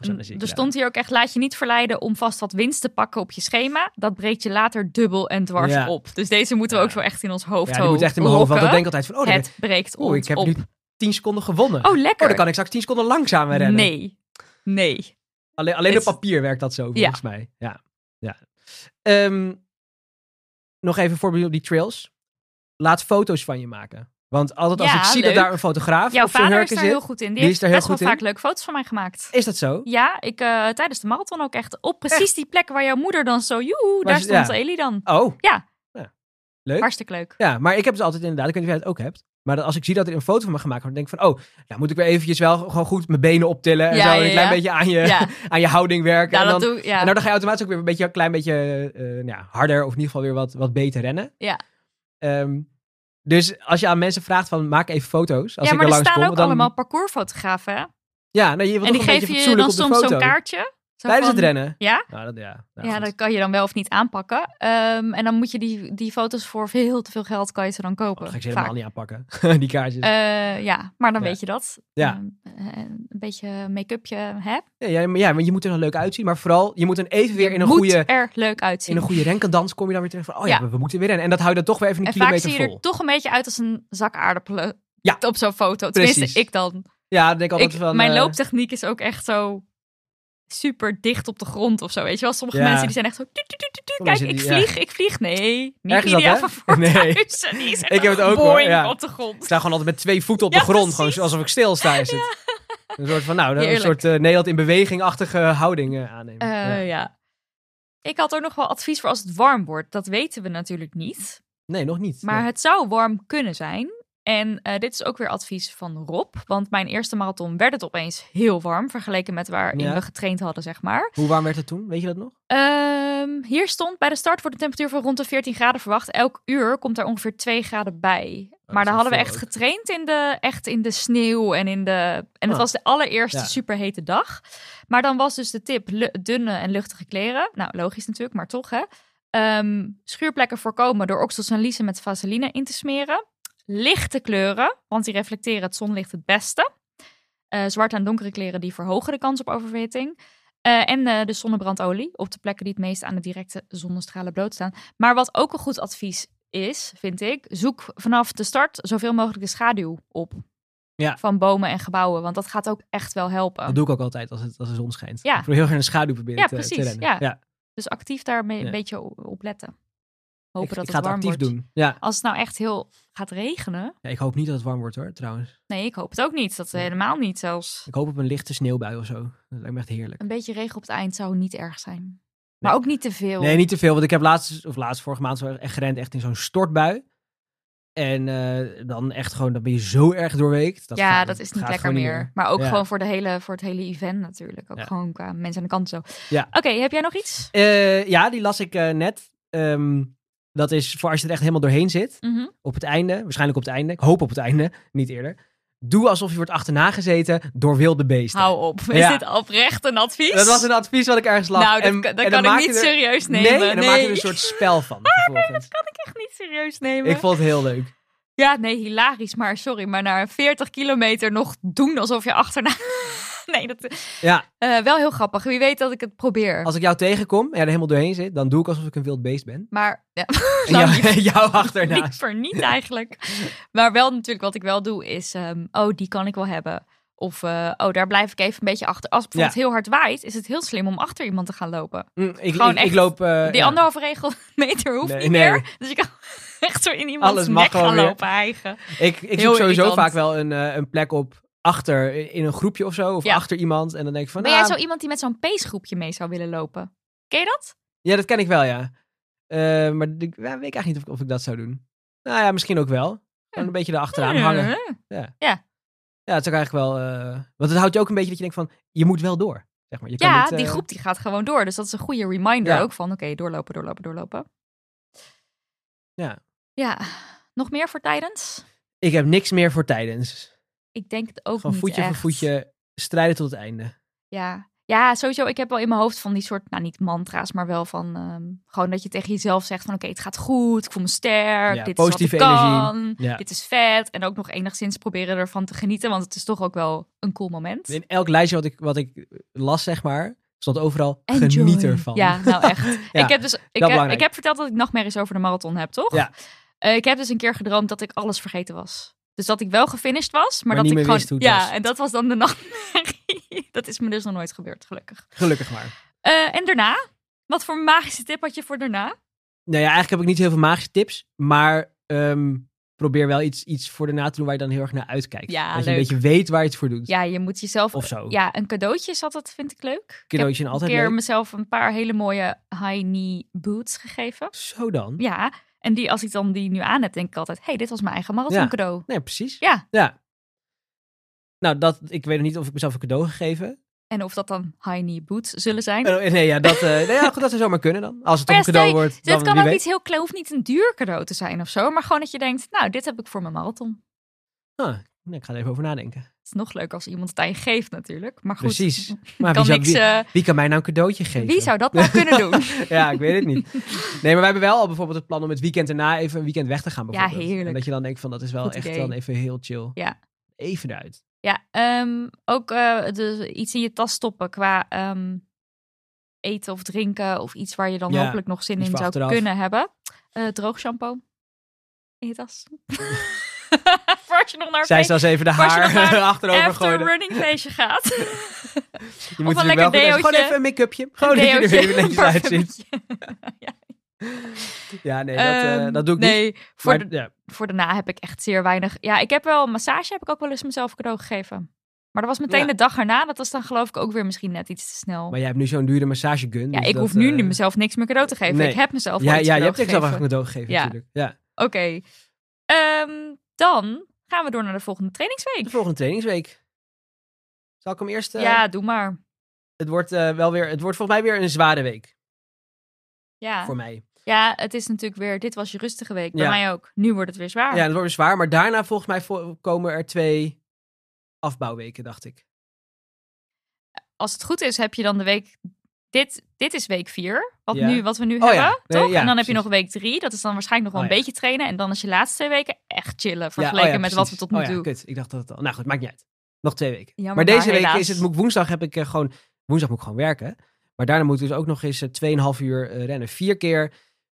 B: of zo. Dan zie ik
C: Mm, Er
B: wel.
C: stond hier ook echt, laat je niet verleiden om vast wat winst te pakken op je schema. Dat breekt je later dubbel en dwars
B: Ja.
C: op. Dus deze moeten we ook zo echt in ons hoofd
B: Ja, die
C: houden.
B: moet echt in mijn hoofd. Want dan denk ik altijd van, oh, dan
C: Het breekt
B: Oh,
C: ons
B: ik heb
C: op.
B: nu 10 seconden gewonnen.
C: Oh,
B: Oh,
C: lekker.
B: dan kan ik straks 10 seconden langzamer rennen.
C: nee, nee.
B: Alleen, alleen
C: Dit-
B: op papier werkt dat zo, volgens mij. Ja. ja. Ehm, nog even een voorbeeld op die trails. Laat foto's van je maken. Want altijd als
C: Ja,
B: ik zie dat
C: leuk.
B: daar een fotograaf
C: Jouw
B: op zijn
C: vader is
B: hurken
C: daar
B: zit...
C: heel goed in. Die,
B: Die
C: heeft
B: is daar heel
C: best wel
B: goed in.
C: vaak leuke foto's van mij gemaakt.
B: Is dat zo?
C: Ja, ik, eh, tijdens de marathon ook echt. Op precies die plek waar jouw moeder dan zo, joehoe, daar
B: ze-
C: stond
B: ja.
C: Elie dan.
B: Oh.
C: Ja.
B: Leuk.
C: Hartstikke leuk.
B: Ja, maar ik heb dus altijd inderdaad, ik weet niet of jij het ook hebt. Maar dat als ik zie dat er een foto van me gemaakt wordt, dan denk ik van, oh, nou moet ik weer eventjes wel gewoon goed mijn benen optillen. En
C: Ja,
B: zo
C: ja,
B: een klein
C: ja.
B: beetje aan je,
C: Ja,
B: aan je houding werken.
C: nou,
B: en dan,
C: dat doe ik. Ja.
B: En dan ga je automatisch ook weer een, beetje, een klein beetje eh, nou ja, harder of in ieder geval weer wat, wat beter rennen.
C: Ja.
B: Ehm, dus als je aan mensen vraagt van maak even foto's. Als
C: ja,
B: ik
C: maar
B: er
C: er
B: langs
C: staan
B: kom,
C: ook
B: dan,
C: allemaal parcoursfotografen. hè?
B: Ja, nou, je wil
C: En
B: toch
C: die
B: een beetje
C: geven je
B: fatsoenlijk
C: dan
B: op de
C: soms
B: foto.
C: zo'n kaartje. Zo
B: Tijdens
C: van-
B: het rennen.
C: Ja?
B: Nou, dat, ja, nou,
C: Ja,
B: goed.
C: dat kan je dan wel of niet aanpakken. Ehm, en dan moet je die, die foto's voor veel te veel geld kan je ze dan
B: Oh,
C: kopen.
B: dat ga ik ze
C: vaak.
B: helemaal niet aanpakken, die kaartjes.
C: Eh, ja, maar dan
B: Ja.
C: weet je dat.
B: Ja.
C: Ehm, eh, een beetje make-upje, hè?
B: Ja, ja, maar, ja, want je moet er dan leuk uitzien. Maar vooral, je moet dan even weer in een
C: Moet
B: goede...
C: er leuk
B: In
C: uitzien.
B: een goede renkendans kom je dan weer terug van, oh ja,
C: Ja.
B: We, we moeten weer rennen. En dat houdt dan toch weer even een
C: en vaak
B: kilometer
C: zie je
B: vol.
C: er toch een beetje uit als een zak aardappelen.
B: Ja.
C: Op zo'n foto. Tenminste,
B: Precies.
C: ik dan.
B: Ja, dan denk ik altijd
C: Ik,
B: van...
C: mijn
B: eh,
C: looptechniek is ook echt zo super dicht op de grond of zo. Weet je wel, sommige
B: Ja.
C: mensen die zijn echt zo... tu, tu, tu, tu, tu,
B: Sommige mensen
C: kijk, ik
B: die- ja.
C: vlieg, ik vlieg. Nee, niet
B: Erg is dat,
C: ideaal
B: hè?
C: van Voorthuizen. Die is echt
B: Ik heb het ook, hoor,
C: boing
B: ja.
C: op de grond.
B: Ik sta gewoon altijd met twee voeten op
C: Ja,
B: de grond.
C: precies.
B: Gewoon alsof ik stilsta is het. Een soort van, nou, een
C: Heerlijk.
B: soort eh, Nederland in beweging-achtige houding eh, aannemen.
C: Eh,
B: Ja.
C: ja. Ik had er nog wel advies voor als het warm wordt. Dat weten we natuurlijk niet.
B: Nee, nog niet.
C: Maar
B: Nee.
C: het zou warm kunnen zijn. En eh, dit is ook weer advies van Rob. Want mijn eerste marathon werd het opeens heel warm. Vergeleken met waarin
B: Ja.
C: we getraind hadden, zeg maar.
B: Hoe warm werd het toen? Weet je dat
C: Oh.
B: nog?
C: Ehm, hier stond bij de start wordt de temperatuur van rond de 14 graden verwacht. Elk uur komt daar ongeveer 2 graden bij.
B: Oh, is
C: maar daar
B: wel
C: hadden we
B: veel
C: echt
B: ook.
C: getraind in de, echt in de sneeuw en in de. En
B: Ah.
C: het was de allereerste
B: Ja.
C: superhete dag. Maar dan was dus de tip: lu- dunne en luchtige kleren. Nou, logisch natuurlijk, maar toch hè. Ehm, schuurplekken voorkomen door oxysanlise met vaseline in te smeren. Lichte kleuren, want die reflecteren het zonlicht het beste. Eh, zwarte en donkere kleren die verhogen de kans op oververhitting. Eh, en eh, de zonnebrandolie op de plekken die het meest aan de directe zonnestralen blootstaan. Maar wat ook een goed advies is, vind ik, zoek vanaf de start zoveel mogelijk de schaduw op.
B: Ja.
C: Van bomen en gebouwen, want dat gaat ook echt wel helpen.
B: Dat doe ik ook altijd als, het, als de zon schijnt.
C: Ja.
B: Ik probeer heel erg in de schaduw proberen
C: Ja,
B: te, te
C: precies,
B: rennen.
C: ja. Dus actief daar mee- een
B: Ja.
C: beetje o- op letten. Hopen
B: ik,
C: dat
B: ik
C: het
B: ga het
C: warm
B: actief
C: wordt.
B: doen. Ja.
C: Als het nou echt heel gaat regenen,
B: Ja, ik hoop niet dat het warm wordt hoor, trouwens.
C: nee, ik hoop het ook niet. Dat
B: Nee.
C: helemaal niet zelfs.
B: Ik hoop op een lichte sneeuwbui of zo. Dat lijkt me echt heerlijk.
C: Een beetje regen op het eind zou niet erg zijn. Maar ook niet te veel.
B: Nee, niet te veel. Want ik heb laatst, of laatst vorige maand, zo echt gerend echt in zo'n stortbui. En eh, dan echt gewoon, dan ben je zo erg doorweekt.
C: ja,
B: gaat-
C: dat is niet
B: gaat
C: lekker
B: gewoon
C: meer. Maar ook
B: Ja.
C: gewoon voor, de hele, voor het hele event natuurlijk. Ook
B: Ja.
C: gewoon qua mensen aan de kant zo.
B: Ja.
C: Oké, heb jij nog iets?
B: Eh, ja, die las ik eh, net. Ehm, dat is voor als je er echt helemaal doorheen zit.
C: Mhm.
B: Op het einde, waarschijnlijk op het einde. Ik hoop op het einde, niet eerder. Doe alsof je wordt achterna gezeten door wilde beesten.
C: Hou op. Is
B: Ja.
C: dit oprecht een advies?
B: Dat was een advies wat ik ergens las.
C: Nou, dat,
B: En-
C: kan- dat
B: en dan
C: kan
B: maak
C: ik
B: je
C: niet
B: er-
C: serieus
B: Nee,
C: nemen. Ah,
B: en dan maak je er een soort spel van. vervolgens.
C: dat kan ik echt niet serieus nemen.
B: ik vond het heel leuk.
C: Ja, nee, hilarisch. Maar sorry, maar na 40 kilometer nog doen alsof je achterna... nee, dat...
B: Ja,
C: eh, wel heel grappig. Wie weet dat ik het probeer.
B: als ik jou tegenkom en jij er helemaal doorheen zit, dan doe ik alsof ik een wild beest ben.
C: Maar ja,
B: En
C: nou,
B: jou, jou achterna.
C: Liever niet eigenlijk. Maar wel natuurlijk, wat ik wel doe is... ehm, oh, die kan ik wel hebben. Of, eh, oh, daar blijf ik even een beetje achter. Als het bijvoorbeeld heel hard waait, is het heel slim om achter iemand te gaan lopen.
B: Mm, ik,
C: Gewoon
B: ik, ik
C: echt
B: loop. eh,
C: Die
B: ja.
C: anderhalve regel meter hoeft
B: Nee,
C: niet
B: nee.
C: meer. Dus ik kan echt zo in iemands
B: Alles mag
C: nek
B: gewoon
C: gaan
B: weer. Nou
C: lopen eigen.
B: Ik, ik
C: Heel
B: zoek sowieso
C: irritant.
B: vaak wel een, eh, een plek op achter in een groepje of zo. Of
C: Ja.
B: achter iemand. En dan denk ik van.
C: Ben jij
B: ah,
C: zo iemand die met zo'n peesgroepje mee zou willen lopen? Ken je dat?
B: Ja, dat ken ik wel, ja. Eh, maar ik ja, weet ik eigenlijk niet of ik, of ik dat zou doen. Nou ja, misschien ook wel. Gewoon een beetje erachteraan hangen.
C: Eh,
B: Ja.
C: Ja.
B: Ja, het is ook eigenlijk wel... eh, want het houdt je ook een beetje dat je denkt van... Je moet wel door. Zeg maar. je kan
C: Ja,
B: niet, eh,
C: die groep die gaat gewoon door. Dus dat is een goede reminder
B: Ja.
C: ook van, oké, doorlopen, doorlopen, doorlopen.
B: Ja.
C: Ja. Nog meer voor tijdens?
B: Ik heb niks meer voor tijdens.
C: Ik denk het ook
B: Van
C: niet
B: voetje voor
C: echt.
B: voetje strijden tot het einde.
C: Ja. ja, sowieso. Ik heb wel in mijn hoofd van die soort, nou niet mantra's, maar wel van ehm, gewoon dat je tegen jezelf zegt van oké, het gaat goed, ik voel me sterk,
B: Ja,
C: dit
B: positieve
C: is wat ik
B: energie.
C: kan,
B: Ja.
C: dit is vet. En ook nog enigszins proberen ervan te genieten, want het is toch ook wel een cool moment.
B: In elk lijstje wat ik, wat ik las, zeg maar, stond overal
C: Enjoy.
B: geniet ervan.
C: Ja, nou echt.
B: Ja,
C: ik, heb dus, ik, heb,
B: belangrijk.
C: ik heb verteld dat ik nachtmerries over de marathon heb, toch?
B: Ja.
C: Eh, ik heb dus een keer gedroomd dat ik alles vergeten was. Dus dat ik wel gefinished was, maar,
B: Maar
C: dat
B: niet
C: ik
B: meer
C: gewoon...
B: wist hoe het
C: ja,
B: was.
C: en dat was dan de nachtmerrie. dat is me dus nog nooit gebeurd, gelukkig.
B: Gelukkig maar.
C: Eh, en daarna? Wat voor magische tip had je voor daarna?
B: Nou ja, eigenlijk heb ik niet heel veel magische tips, maar ehm, probeer wel iets, iets voor daarna te doen waar je dan heel erg naar uitkijkt.
C: Ja,
B: dat je
C: leuk.
B: een beetje weet waar je het voor doet.
C: Ja, je moet jezelf...
B: Of zo.
C: Ja, een cadeautje is altijd, vind ik leuk.
B: Cadeautjes zijn
C: ik heb
B: altijd
C: een keer
B: leuk.
C: mezelf een paar hele mooie high-knee boots gegeven.
B: Zo dan.
C: Ja, en die, als ik dan die nu aan heb, denk ik altijd... hey, dit was mijn eigen marathon
B: Ja.
C: cadeau.
B: Nee, precies.
C: Ja.
B: ja. Nou, dat, ik weet nog niet of ik mezelf een cadeau gegeven.
C: En of dat dan high-knee boots zullen zijn. Dus
B: Eh, nee, ja, dat, eh, nee, ja, goed, dat zou zomaar kunnen dan. Als het
C: Maar
B: een
C: ja,
B: cadeau
C: stel
B: wordt,
C: Dus
B: dan
C: het kan
B: wie
C: ook
B: weet.
C: iets heel klein, hoeft niet een duur cadeau te zijn of zo. Maar gewoon dat je denkt, nou, dit heb ik voor mijn marathon.
B: Ah, nee, ik ga er even over nadenken.
C: Het is nog leuk als iemand het aan je geeft natuurlijk. Maar goed,
B: Precies.
C: ik
B: Maar
C: kan
B: wie, zou,
C: niks,
B: wie,
C: eh,
B: wie kan mij nou een cadeautje geven?
C: wie zou dat nou kunnen doen?
B: Ja, ik weet het niet. Nee, maar wij hebben wel al bijvoorbeeld het plan om het weekend erna even een weekend weg te gaan. Bijvoorbeeld.
C: heerlijk.
B: En dat je dan denkt van dat is wel
C: Goed
B: echt
C: idee.
B: dan even heel chill.
C: Ja.
B: Even eruit.
C: Ja, ehm, ook eh, dus iets in je tas stoppen qua ehm, eten of drinken of iets waar je dan
B: Ja,
C: hopelijk nog zin
B: iets
C: in
B: voor
C: zou
B: achteraf.
C: kunnen hebben. Eh, droog shampoo in je tas. Voor als je nog naar
B: Zij
C: een
B: is als even de
C: Waar ze nog
B: haar
C: maar
B: achterover
C: after
B: gooien.
C: running feestje gaat.
B: Je moet
C: een
B: natuurlijk wel
C: lekker
B: goed- Gewoon
C: deootje.
B: even een make-upje. Gewoon Oh, dat je er
C: Deootje,
B: weer netjes uitziet.
C: parfumetje.
B: Ja, nee, dat, eh,
C: Ehm,
B: dat doe ik niet.
C: nee, voor,
B: Maar,
C: de,
B: ja.
C: voor daarna heb ik echt zeer weinig. Ja, ik heb wel een massage, heb ik ook wel eens mezelf cadeau gegeven. Maar dat was meteen
B: Ja.
C: de dag erna. Dat was dan geloof ik ook weer misschien net iets te snel.
B: maar jij hebt nu zo'n dure massagegun.
C: ja,
B: dus
C: ik
B: dat,
C: hoef nu
B: eh,
C: mezelf niks meer cadeau te geven.
B: nee.
C: Ik heb mezelf
B: Ja,
C: al iets
B: ja je
C: cadeau
B: hebt ik zelf
C: gegeven.
B: eigenlijk een cadeau gegeven
C: Ja.
B: natuurlijk. Ja.
C: Oké. Ehm, dan gaan we door naar de volgende
B: De
C: trainingsweek.
B: volgende trainingsweek. Zal ik hem eerst... eh,
C: Ja, doe maar.
B: Het wordt eh, wel weer... Het wordt volgens mij weer een zware week
C: Ja.
B: voor mij.
C: ja, het is natuurlijk weer... Dit was je rustige week. Bij
B: Ja.
C: mij ook. Nu wordt het weer zwaar.
B: Ja, dat wordt weer zwaar. Maar daarna volgens mij vo- komen er twee afbouwweken, dacht ik. oh
C: als het goed is, heb je dan de week. Dit, dit is week 4, wat,
B: Ja.
C: nu, wat we nu
B: Oh
C: hebben,
B: ja, nee,
C: toch?
B: ja,
C: en dan heb je
B: precies.
C: nog week 3, dat is dan waarschijnlijk nog wel
B: Oh
C: een
B: ja.
C: beetje trainen. En dan is je laatste twee weken echt chillen,
B: Ja, oh
C: vergeleken
B: ja,
C: met wat we
B: precies.
C: tot nu
B: oh, ja,
C: toe...
B: Kut, ik dacht dat het al. Nou goed, maakt niet uit. Nog twee weken.
C: Jammer,
B: maar deze
C: maar
B: week
C: helaas.
B: is het. moet- Woensdag heb ik eh, gewoon. Woensdag moet ik gewoon werken. Maar daarna moet ik dus ook nog eens eh, 2,5 uur eh, rennen. Vier keer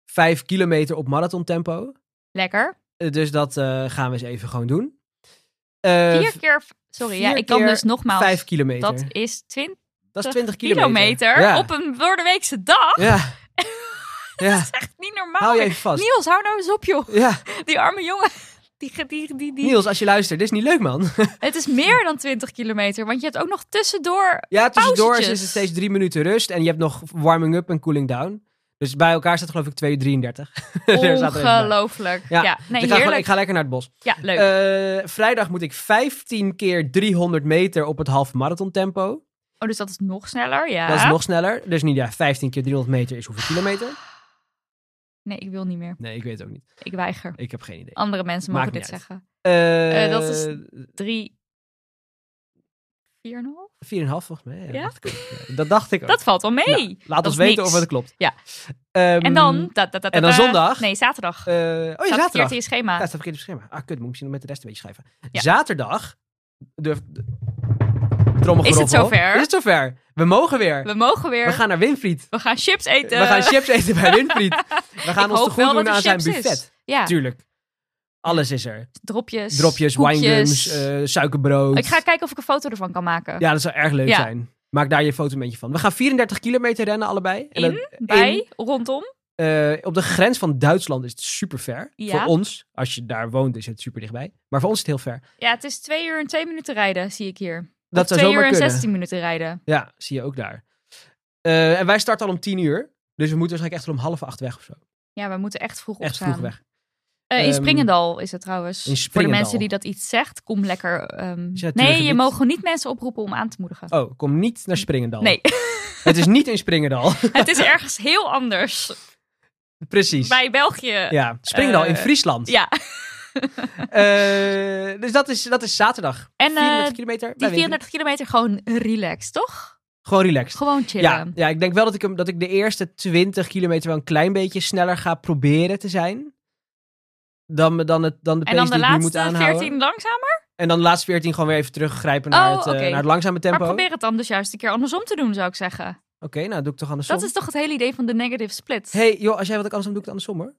B: vijf kilometer op marathon tempo.
C: Lekker.
B: dus dat eh, gaan we eens even gewoon doen. Eh,
C: vier keer... Sorry, ja,
B: vier
C: ik kan
B: keer
C: dus nogmaals...
B: Vijf kilometer.
C: dat is 20
B: Dat is 20 kilometer.
C: kilometer,
B: Ja.
C: op een doordeweekse dag.
B: Ja. ja.
C: Dat is echt niet normaal.
B: Hou je even vast.
C: Niels, hou nou eens op, joh.
B: Ja.
C: Die arme jongen. Die, ge- die, die, die.
B: Niels, als je luistert, dit is niet leuk, man.
C: Het is meer dan 20 kilometer, want je hebt ook nog tussendoor...
B: Ja, tussendoor is
C: Pauzetjes.
B: het steeds drie minuten rust. En je hebt nog warming up en cooling down. Dus bij elkaar staat geloof ik 2,33. Daar staat er even bij.
C: Ongelooflijk.
B: Ja,
C: Ja, nee,
B: ik, ga gewoon-
C: heerlijk.
B: ik ga lekker naar het bos.
C: Ja, leuk.
B: Eh, vrijdag moet ik 15 keer 300 meter op het half marathon tempo.
C: Oh, dus dat is nog sneller, ja.
B: Dat is nog sneller. Dus niet ja, 15 keer 300 meter is hoeveel kilometer?
C: Nee, ik wil niet meer.
B: Nee, ik weet het ook niet.
C: Ik weiger.
B: Ik heb geen idee.
C: Andere mensen
B: Maakt
C: mogen dit
B: niet uit.
C: zeggen.
B: Eh
C: Oh. eh, dat is- Drie... Vier en een half?
B: 4,5 volgens mij. Ja,
C: Ja?
B: dacht ik ook. Ja, Dat dacht ik ook.
C: Dat valt wel mee.
B: Nou, laat
C: dat
B: ons
C: is
B: weten
C: niks.
B: of het klopt.
C: Ja.
B: Ehm,
C: en dan... da- da- da-
B: en
C: da-
B: dan
C: da-
B: zondag?
C: Nee, zaterdag.
B: eh, oh ja,
C: Staat verkeerd
B: zaterdag.
C: in je
B: Ja,
C: schema.
B: het staat verkeerd op het schema. Ah, kut, moet ik misschien met de rest een beetje schrijven.
C: Ja.
B: Zaterdag. Durf, de- trommelgeroffel.
C: Is het zover?
B: Is het zover? We mogen weer.
C: We mogen weer.
B: We gaan naar Winfried.
C: We gaan chips eten.
B: We gaan chips eten bij Winfried. We gaan
C: Ik
B: ons
C: hoop
B: te goed
C: wel dat
B: doen
C: er
B: aan zijn
C: chips is.
B: buffet.
C: Ja,
B: Tuurlijk. Alles is er.
C: dropjes.
B: Dropjes,
C: koekjes.
B: winegums, eh, suikerbrood.
C: Ik ga kijken of ik een foto ervan kan maken.
B: Ja, dat zou erg leuk
C: Ja.
B: zijn. Maak daar je foto een beetje van. We gaan 34 kilometer rennen allebei. En
C: In,
B: dat-
C: Bij,
B: in,
C: rondom.
B: eh, op de grens van Duitsland is het super ver.
C: Ja.
B: Voor ons, als je daar woont, is het super dichtbij. Maar voor ons is het heel ver.
C: Ja, het is twee uur en twee minuten rijden, zie ik hier.
B: Dat
C: of
B: zou
C: twee uur
B: zomaar
C: en
B: kunnen.
C: 16 minuten rijden.
B: Ja, zie je ook daar. Eh, en wij starten al om 10 uur. Dus we moeten waarschijnlijk echt wel om half acht weg of zo.
C: Ja, we moeten echt vroeg
B: Echt
C: opstaan.
B: vroeg weg.
C: Eh, in
B: Ehm,
C: Springendal is het trouwens.
B: in
C: Voor de
B: Springendal.
C: mensen die dat iets zegt, kom lekker. ehm,
B: Is dat
C: nee, je
B: natuurgebied?
C: mogen niet mensen oproepen om aan te moedigen.
B: Oh, kom niet naar Springendal.
C: Nee,
B: Het is niet in Springendal.
C: het is ergens heel anders.
B: Precies.
C: Bij België.
B: Ja, Springendal in
C: Eh,
B: Friesland.
C: Ja.
B: Eh, dus dat is, dat is zaterdag.
C: En, eh,
B: 34 kilometer. bij
C: Die
B: Winkel.
C: 34 kilometer gewoon relaxed, toch?
B: Gewoon relaxed.
C: Gewoon
B: Ja,
C: chillen.
B: ja, ik denk wel dat ik, hem, dat ik de eerste 20 kilometer wel een klein beetje sneller ga proberen te zijn. Dan, me- dan, het, dan de
C: en
B: pace
C: dan de
B: die ik nu moet
C: laatste
B: aanhouden.
C: 14 langzamer.
B: En dan de laatste 14 gewoon weer even teruggrijpen naar,
C: Oh,
B: het, eh,
C: oké.
B: naar het langzame tempo.
C: Maar probeer het dan dus juist een keer andersom te doen, zou ik zeggen.
B: Oké, nou doe ik toch andersom.
C: Dat is toch het hele idee van de negative split.
B: hey, joh, als jij wat ik andersom doe, ik het andersom hoor.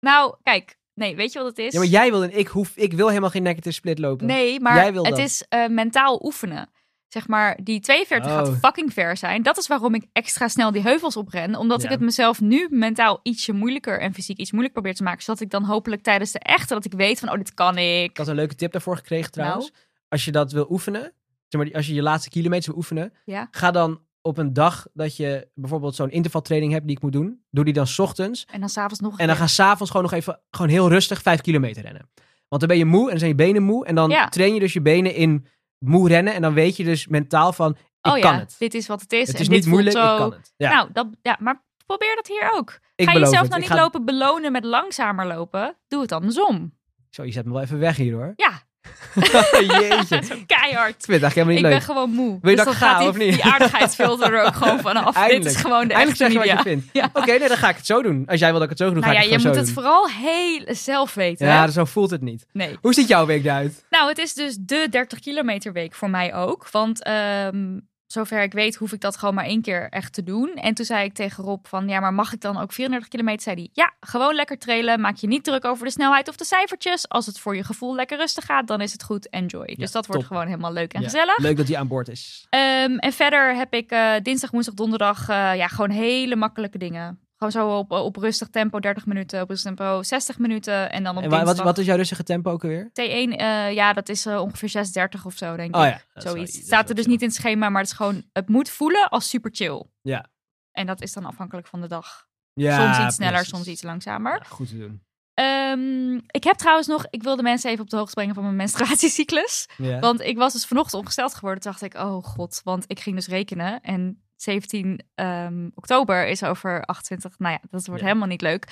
C: Nou, kijk. Nee, weet je wat het is?
B: Ja, maar jij wil en ik hoef, ik wil helemaal geen negative split lopen.
C: Nee, maar
B: Jij wil
C: het
B: dat.
C: is eh, mentaal oefenen. Zeg maar, die 42 gaat
B: Oh.
C: fucking ver zijn. Dat is waarom ik extra snel die heuvels opren. Omdat ik
B: Ja.
C: het mezelf nu mentaal ietsje moeilijker en fysiek iets moeilijker probeer te maken. Zodat ik dan hopelijk tijdens de echte, dat ik weet van, oh, dit kan ik.
B: Ik had een leuke tip daarvoor
C: Nou.
B: gekregen trouwens. Als je dat wil oefenen, zeg maar, die- als je je laatste kilometers wil oefenen,
C: Ja.
B: ga dan op een dag dat je bijvoorbeeld zo'n intervaltraining hebt die ik moet doen, doe die dan 's ochtends.
C: En dan s'avonds nog een
B: En dan
C: keer.
B: ga s'avonds gewoon nog even gewoon heel rustig 5 kilometer rennen. Want dan ben je moe en dan zijn je benen moe. En dan
C: Ja.
B: train je dus je benen in moe rennen. En dan weet je dus mentaal van, ik
C: oh ja,
B: kan het.
C: dit is wat het is.
B: Het
C: en
B: is
C: dit
B: niet moeilijk,
C: voelt zo...
B: ik kan het. Ja,
C: Nou, dat, ja, maar probeer dat hier ook.
B: ik
C: ga je
B: beloof
C: jezelf
B: het.
C: nou
B: Ik
C: niet
B: ga-
C: lopen belonen met langzamer lopen? Doe het andersom.
B: Zo, je zet me wel even weg hier hoor.
C: Ja.
B: Jeetje. Ik
C: Keihard.
B: vind het eigenlijk helemaal niet
C: ik
B: leuk.
C: ben gewoon moe.
B: Wil je
C: dus
B: dat ik ga,
C: dan gaat die,
B: of niet?
C: die aardigheidsfilter er ook gewoon vanaf. Dit
B: Eindelijk.
C: is gewoon de
B: Eindelijk
C: echte
B: zeg je wat
C: media.
B: je vindt.
C: Ja.
B: Oké, nee, dan ga ik het zo doen. Als jij wil dat ik het zo doe, dan
C: Nou
B: ga
C: ja,
B: ik
C: je
B: het
C: moet
B: gewoon zo
C: het
B: doen.
C: vooral heel zelf weten. hè?
B: Ja, dus zo voelt het niet.
C: Nee.
B: Hoe ziet jouw week eruit?
C: Nou, het is dus de 30 kilometer week voor mij ook. Want ehm, zover ik weet hoef ik dat gewoon maar één keer echt te doen. En toen zei ik tegen Rob van, ja, maar mag ik dan ook 34 kilometer? Zei hij, ja, gewoon lekker trailen. Maak je niet druk over de snelheid of de cijfertjes. Als het voor je gevoel lekker rustig gaat, dan is het goed. Enjoy. dus dat wordt
B: top.
C: gewoon helemaal leuk en
B: Ja,
C: gezellig.
B: Leuk dat hij aan boord is.
C: Ehm, en verder heb ik eh, dinsdag, woensdag, donderdag eh, ja, gewoon hele makkelijke dingen. Gewoon zo op, op rustig tempo 30 minuten, op rustig tempo 60 minuten. En dan op
B: En wa- wat,
C: dinsdag
B: wat is jouw rustige tempo ook alweer?
C: T1, eh, ja, dat is eh, ongeveer 36 of zo, denk
B: Oh ja.
C: ik.
B: dat is wel-
C: Zoiets.
B: dat is
C: Staat er
B: wel
C: dus
B: chill.
C: niet in het schema, maar het is gewoon, het moet voelen als super chill.
B: Ja.
C: En dat is dan afhankelijk van de dag.
B: Ja,
C: soms iets sneller,
B: precies.
C: soms iets langzamer.
B: Ja, goed te doen.
C: Ehm, ik heb trouwens nog, ik wilde mensen even op de hoogte brengen van mijn menstruatiecyclus.
B: Ja.
C: Want ik was dus vanochtend ongesteld geworden. Toen dacht ik, oh god, want ik ging dus rekenen. En 17 ehm, oktober is over 28. Nou ja, dat wordt
B: Ja.
C: helemaal niet leuk.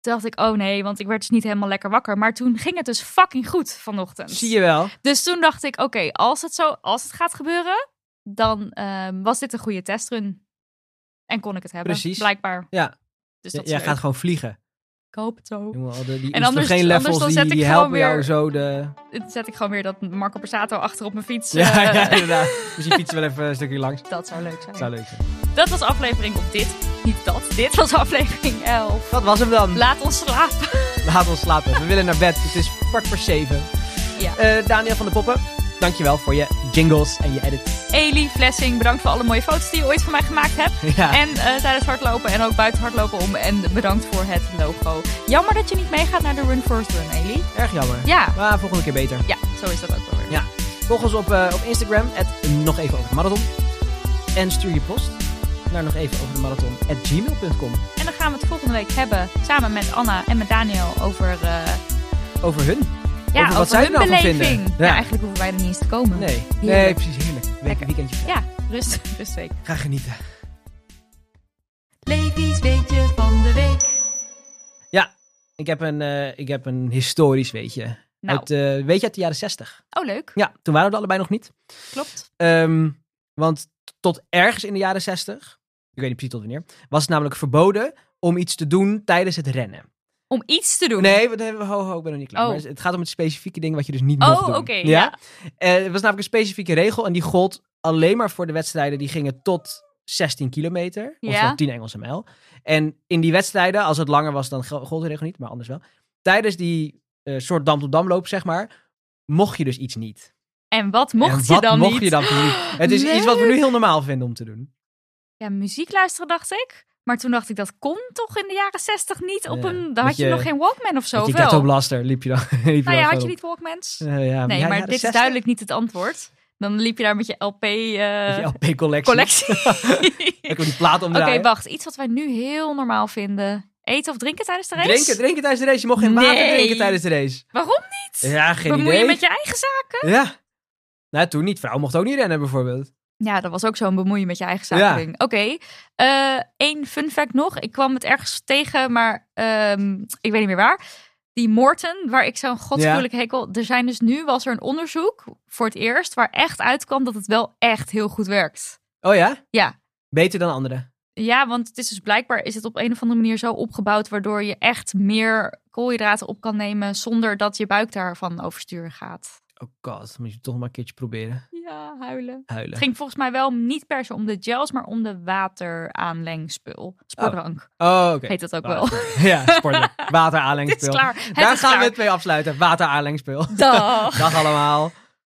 C: Toen dacht ik, oh nee, want ik werd dus niet helemaal lekker wakker. Maar toen ging het dus fucking goed vanochtend.
B: Zie je wel.
C: Dus toen dacht ik, oké, als het zo, als het gaat gebeuren, dan ehm, was dit een goede testrun. En kon ik het hebben,
B: Precies.
C: blijkbaar.
B: Ja.
C: Dus
B: Jij
C: dat is leuk.
B: gaat gewoon vliegen.
C: Ik hoop het zo.
B: Jongen, al de- die
C: En anders-
B: geen
C: anders
B: levels
C: dan
B: die,
C: zet ik
B: die
C: gewoon
B: helpen jou
C: weer-
B: zo de...
C: Dan zet ik gewoon weer dat Marco Borsato achter op mijn fiets.
B: Ja,
C: eh,
B: ja, inderdaad. Misschien fietsen we wel even een stukje langs.
C: Dat zou leuk zijn.
B: Zou leuk zijn.
C: Dat was aflevering op dit. Niet dat. Dit was aflevering 11.
B: Dat was hem dan.
C: Laat ons slapen.
B: Laat ons slapen. We willen naar bed. dus Het is kwart voor zeven.
C: Ja.
B: Eh, Daniel van de Poppen, dankjewel voor je jingles en je edits.
C: Eli Flessing, bedankt voor alle mooie foto's die je ooit van mij gemaakt hebt.
B: Ja.
C: En eh, tijdens hardlopen en ook buiten hardlopen om. En bedankt voor het logo. Jammer dat je niet meegaat naar de Run First Run, Eli.
B: Erg jammer.
C: Ja,
B: Maar volgende keer beter.
C: ja, zo is dat ook wel weer.
B: Ja. Volg ons op, eh, op Instagram, at nog even over de marathon. En stuur je post naar nog even over de marathon, at gmail.com.
C: En dan gaan we het volgende week hebben samen met Anna en met Daniel over, eh
B: Over hun.
C: ja,
B: wat zij er
C: hun
B: nou van
C: beleving.
B: vinden.
C: Ja.
B: Ja.
C: eigenlijk hoeven wij er niet eens te komen.
B: Nee. Nee,
C: Heerlijk.
B: precies. Heerlijk. Week,
C: Lekker.
B: weekendje.
C: Ja, rust, rustweek.
B: Ga genieten.
C: Levi's weetje van de week.
B: Ja. Ik heb een, eh, ik heb een historisch weetje.
C: Nou,
B: Uit, eh, weet je, uit de jaren zestig.
C: oh leuk.
B: Ja, toen waren we er allebei nog niet.
C: Klopt.
B: Ehm, want t- tot ergens in de jaren 60, ik weet niet precies tot wanneer, was het namelijk verboden om iets te doen tijdens het rennen.
C: Om iets te doen.
B: Nee, we, ho, ho, ik ben nog niet klaar.
C: Oh.
B: Maar het gaat om het specifieke ding wat je dus niet
C: Oh,
B: mocht doen.
C: oké. ja.
B: Eh, er was namelijk een specifieke regel en die gold alleen maar voor de wedstrijden die gingen tot 16 kilometer. Of
C: Ja.
B: 10 Engelse mijl. En in die wedstrijden, als het langer was, dan gel- gold de regel niet, maar anders wel. Tijdens die eh, soort dam-tot-dam-loop, zeg maar, mocht je dus iets niet.
C: En wat mocht
B: En
C: je
B: wat
C: dan
B: mocht
C: niet?
B: je dan precies? Het is iets wat we nu heel normaal vinden om te doen.
C: Ja, muziek luisteren dacht ik. Maar toen dacht ik, dat kon toch in de jaren zestig niet op
B: Ja,
C: een...
B: dat
C: Dan had je,
B: je-
C: nog geen Walkman of zo,
B: Met
C: of
B: je
C: wel?
B: ghetto blaster liep je dan. liep
C: nou ja,
B: dan
C: had je
B: gewoon
C: niet Walkmans?
B: op. Eh, ja,
C: Nee,
B: ja,
C: maar
B: ja,
C: dit is
B: 60,
C: duidelijk niet het antwoord. Dan liep je daar met je eh,
B: met
C: LP-collectie.
B: Je LP collectie. Ik wil die plaat
C: Oké,
B: omdraaien.
C: wacht. Iets wat wij nu heel normaal vinden. eten of drinken tijdens de race?
B: Drinken, drinken tijdens de race. Je mocht geen water
C: Nee.
B: drinken tijdens de race.
C: Waarom niet?
B: Ja, geen
C: Bemoei
B: idee.
C: je met je eigen zaken?
B: Ja. Nou, toen niet. Vrouw mocht ook niet rennen, bijvoorbeeld.
C: Ja, dat was ook zo'n bemoeien met je eigen
B: Ja.
C: zaken ding. Oké, Eh, één fun fact nog. Ik kwam het ergens tegen, maar ehm, ik weet niet meer waar. Die Morton, waar ik zo'n godschuwelijk hekel... Er zijn dus nu, was er een onderzoek voor het eerst... waar echt uitkwam dat het wel echt heel goed werkt.
B: Oh ja?
C: Ja.
B: Beter dan anderen.
C: Ja, want het is dus blijkbaar is het op een of andere manier zo opgebouwd... waardoor je echt meer koolhydraten op kan nemen... zonder dat je buik daarvan oversturen gaat.
B: Oh god, moet je toch maar een keertje proberen.
C: Ja, huilen.
B: Huilen.
C: Het ging volgens mij wel niet per se om de gels, maar om de wateraanlengspul. Sportdrank.
B: Oh, oké.
C: heet dat ook wel.
B: Water. Ja, sporten. Water
C: Dit is klaar. Het
B: Daar
C: is
B: gaan we
C: klaar.
B: het mee afsluiten. Water aanlengspeel.
C: Dag.
B: Dag allemaal.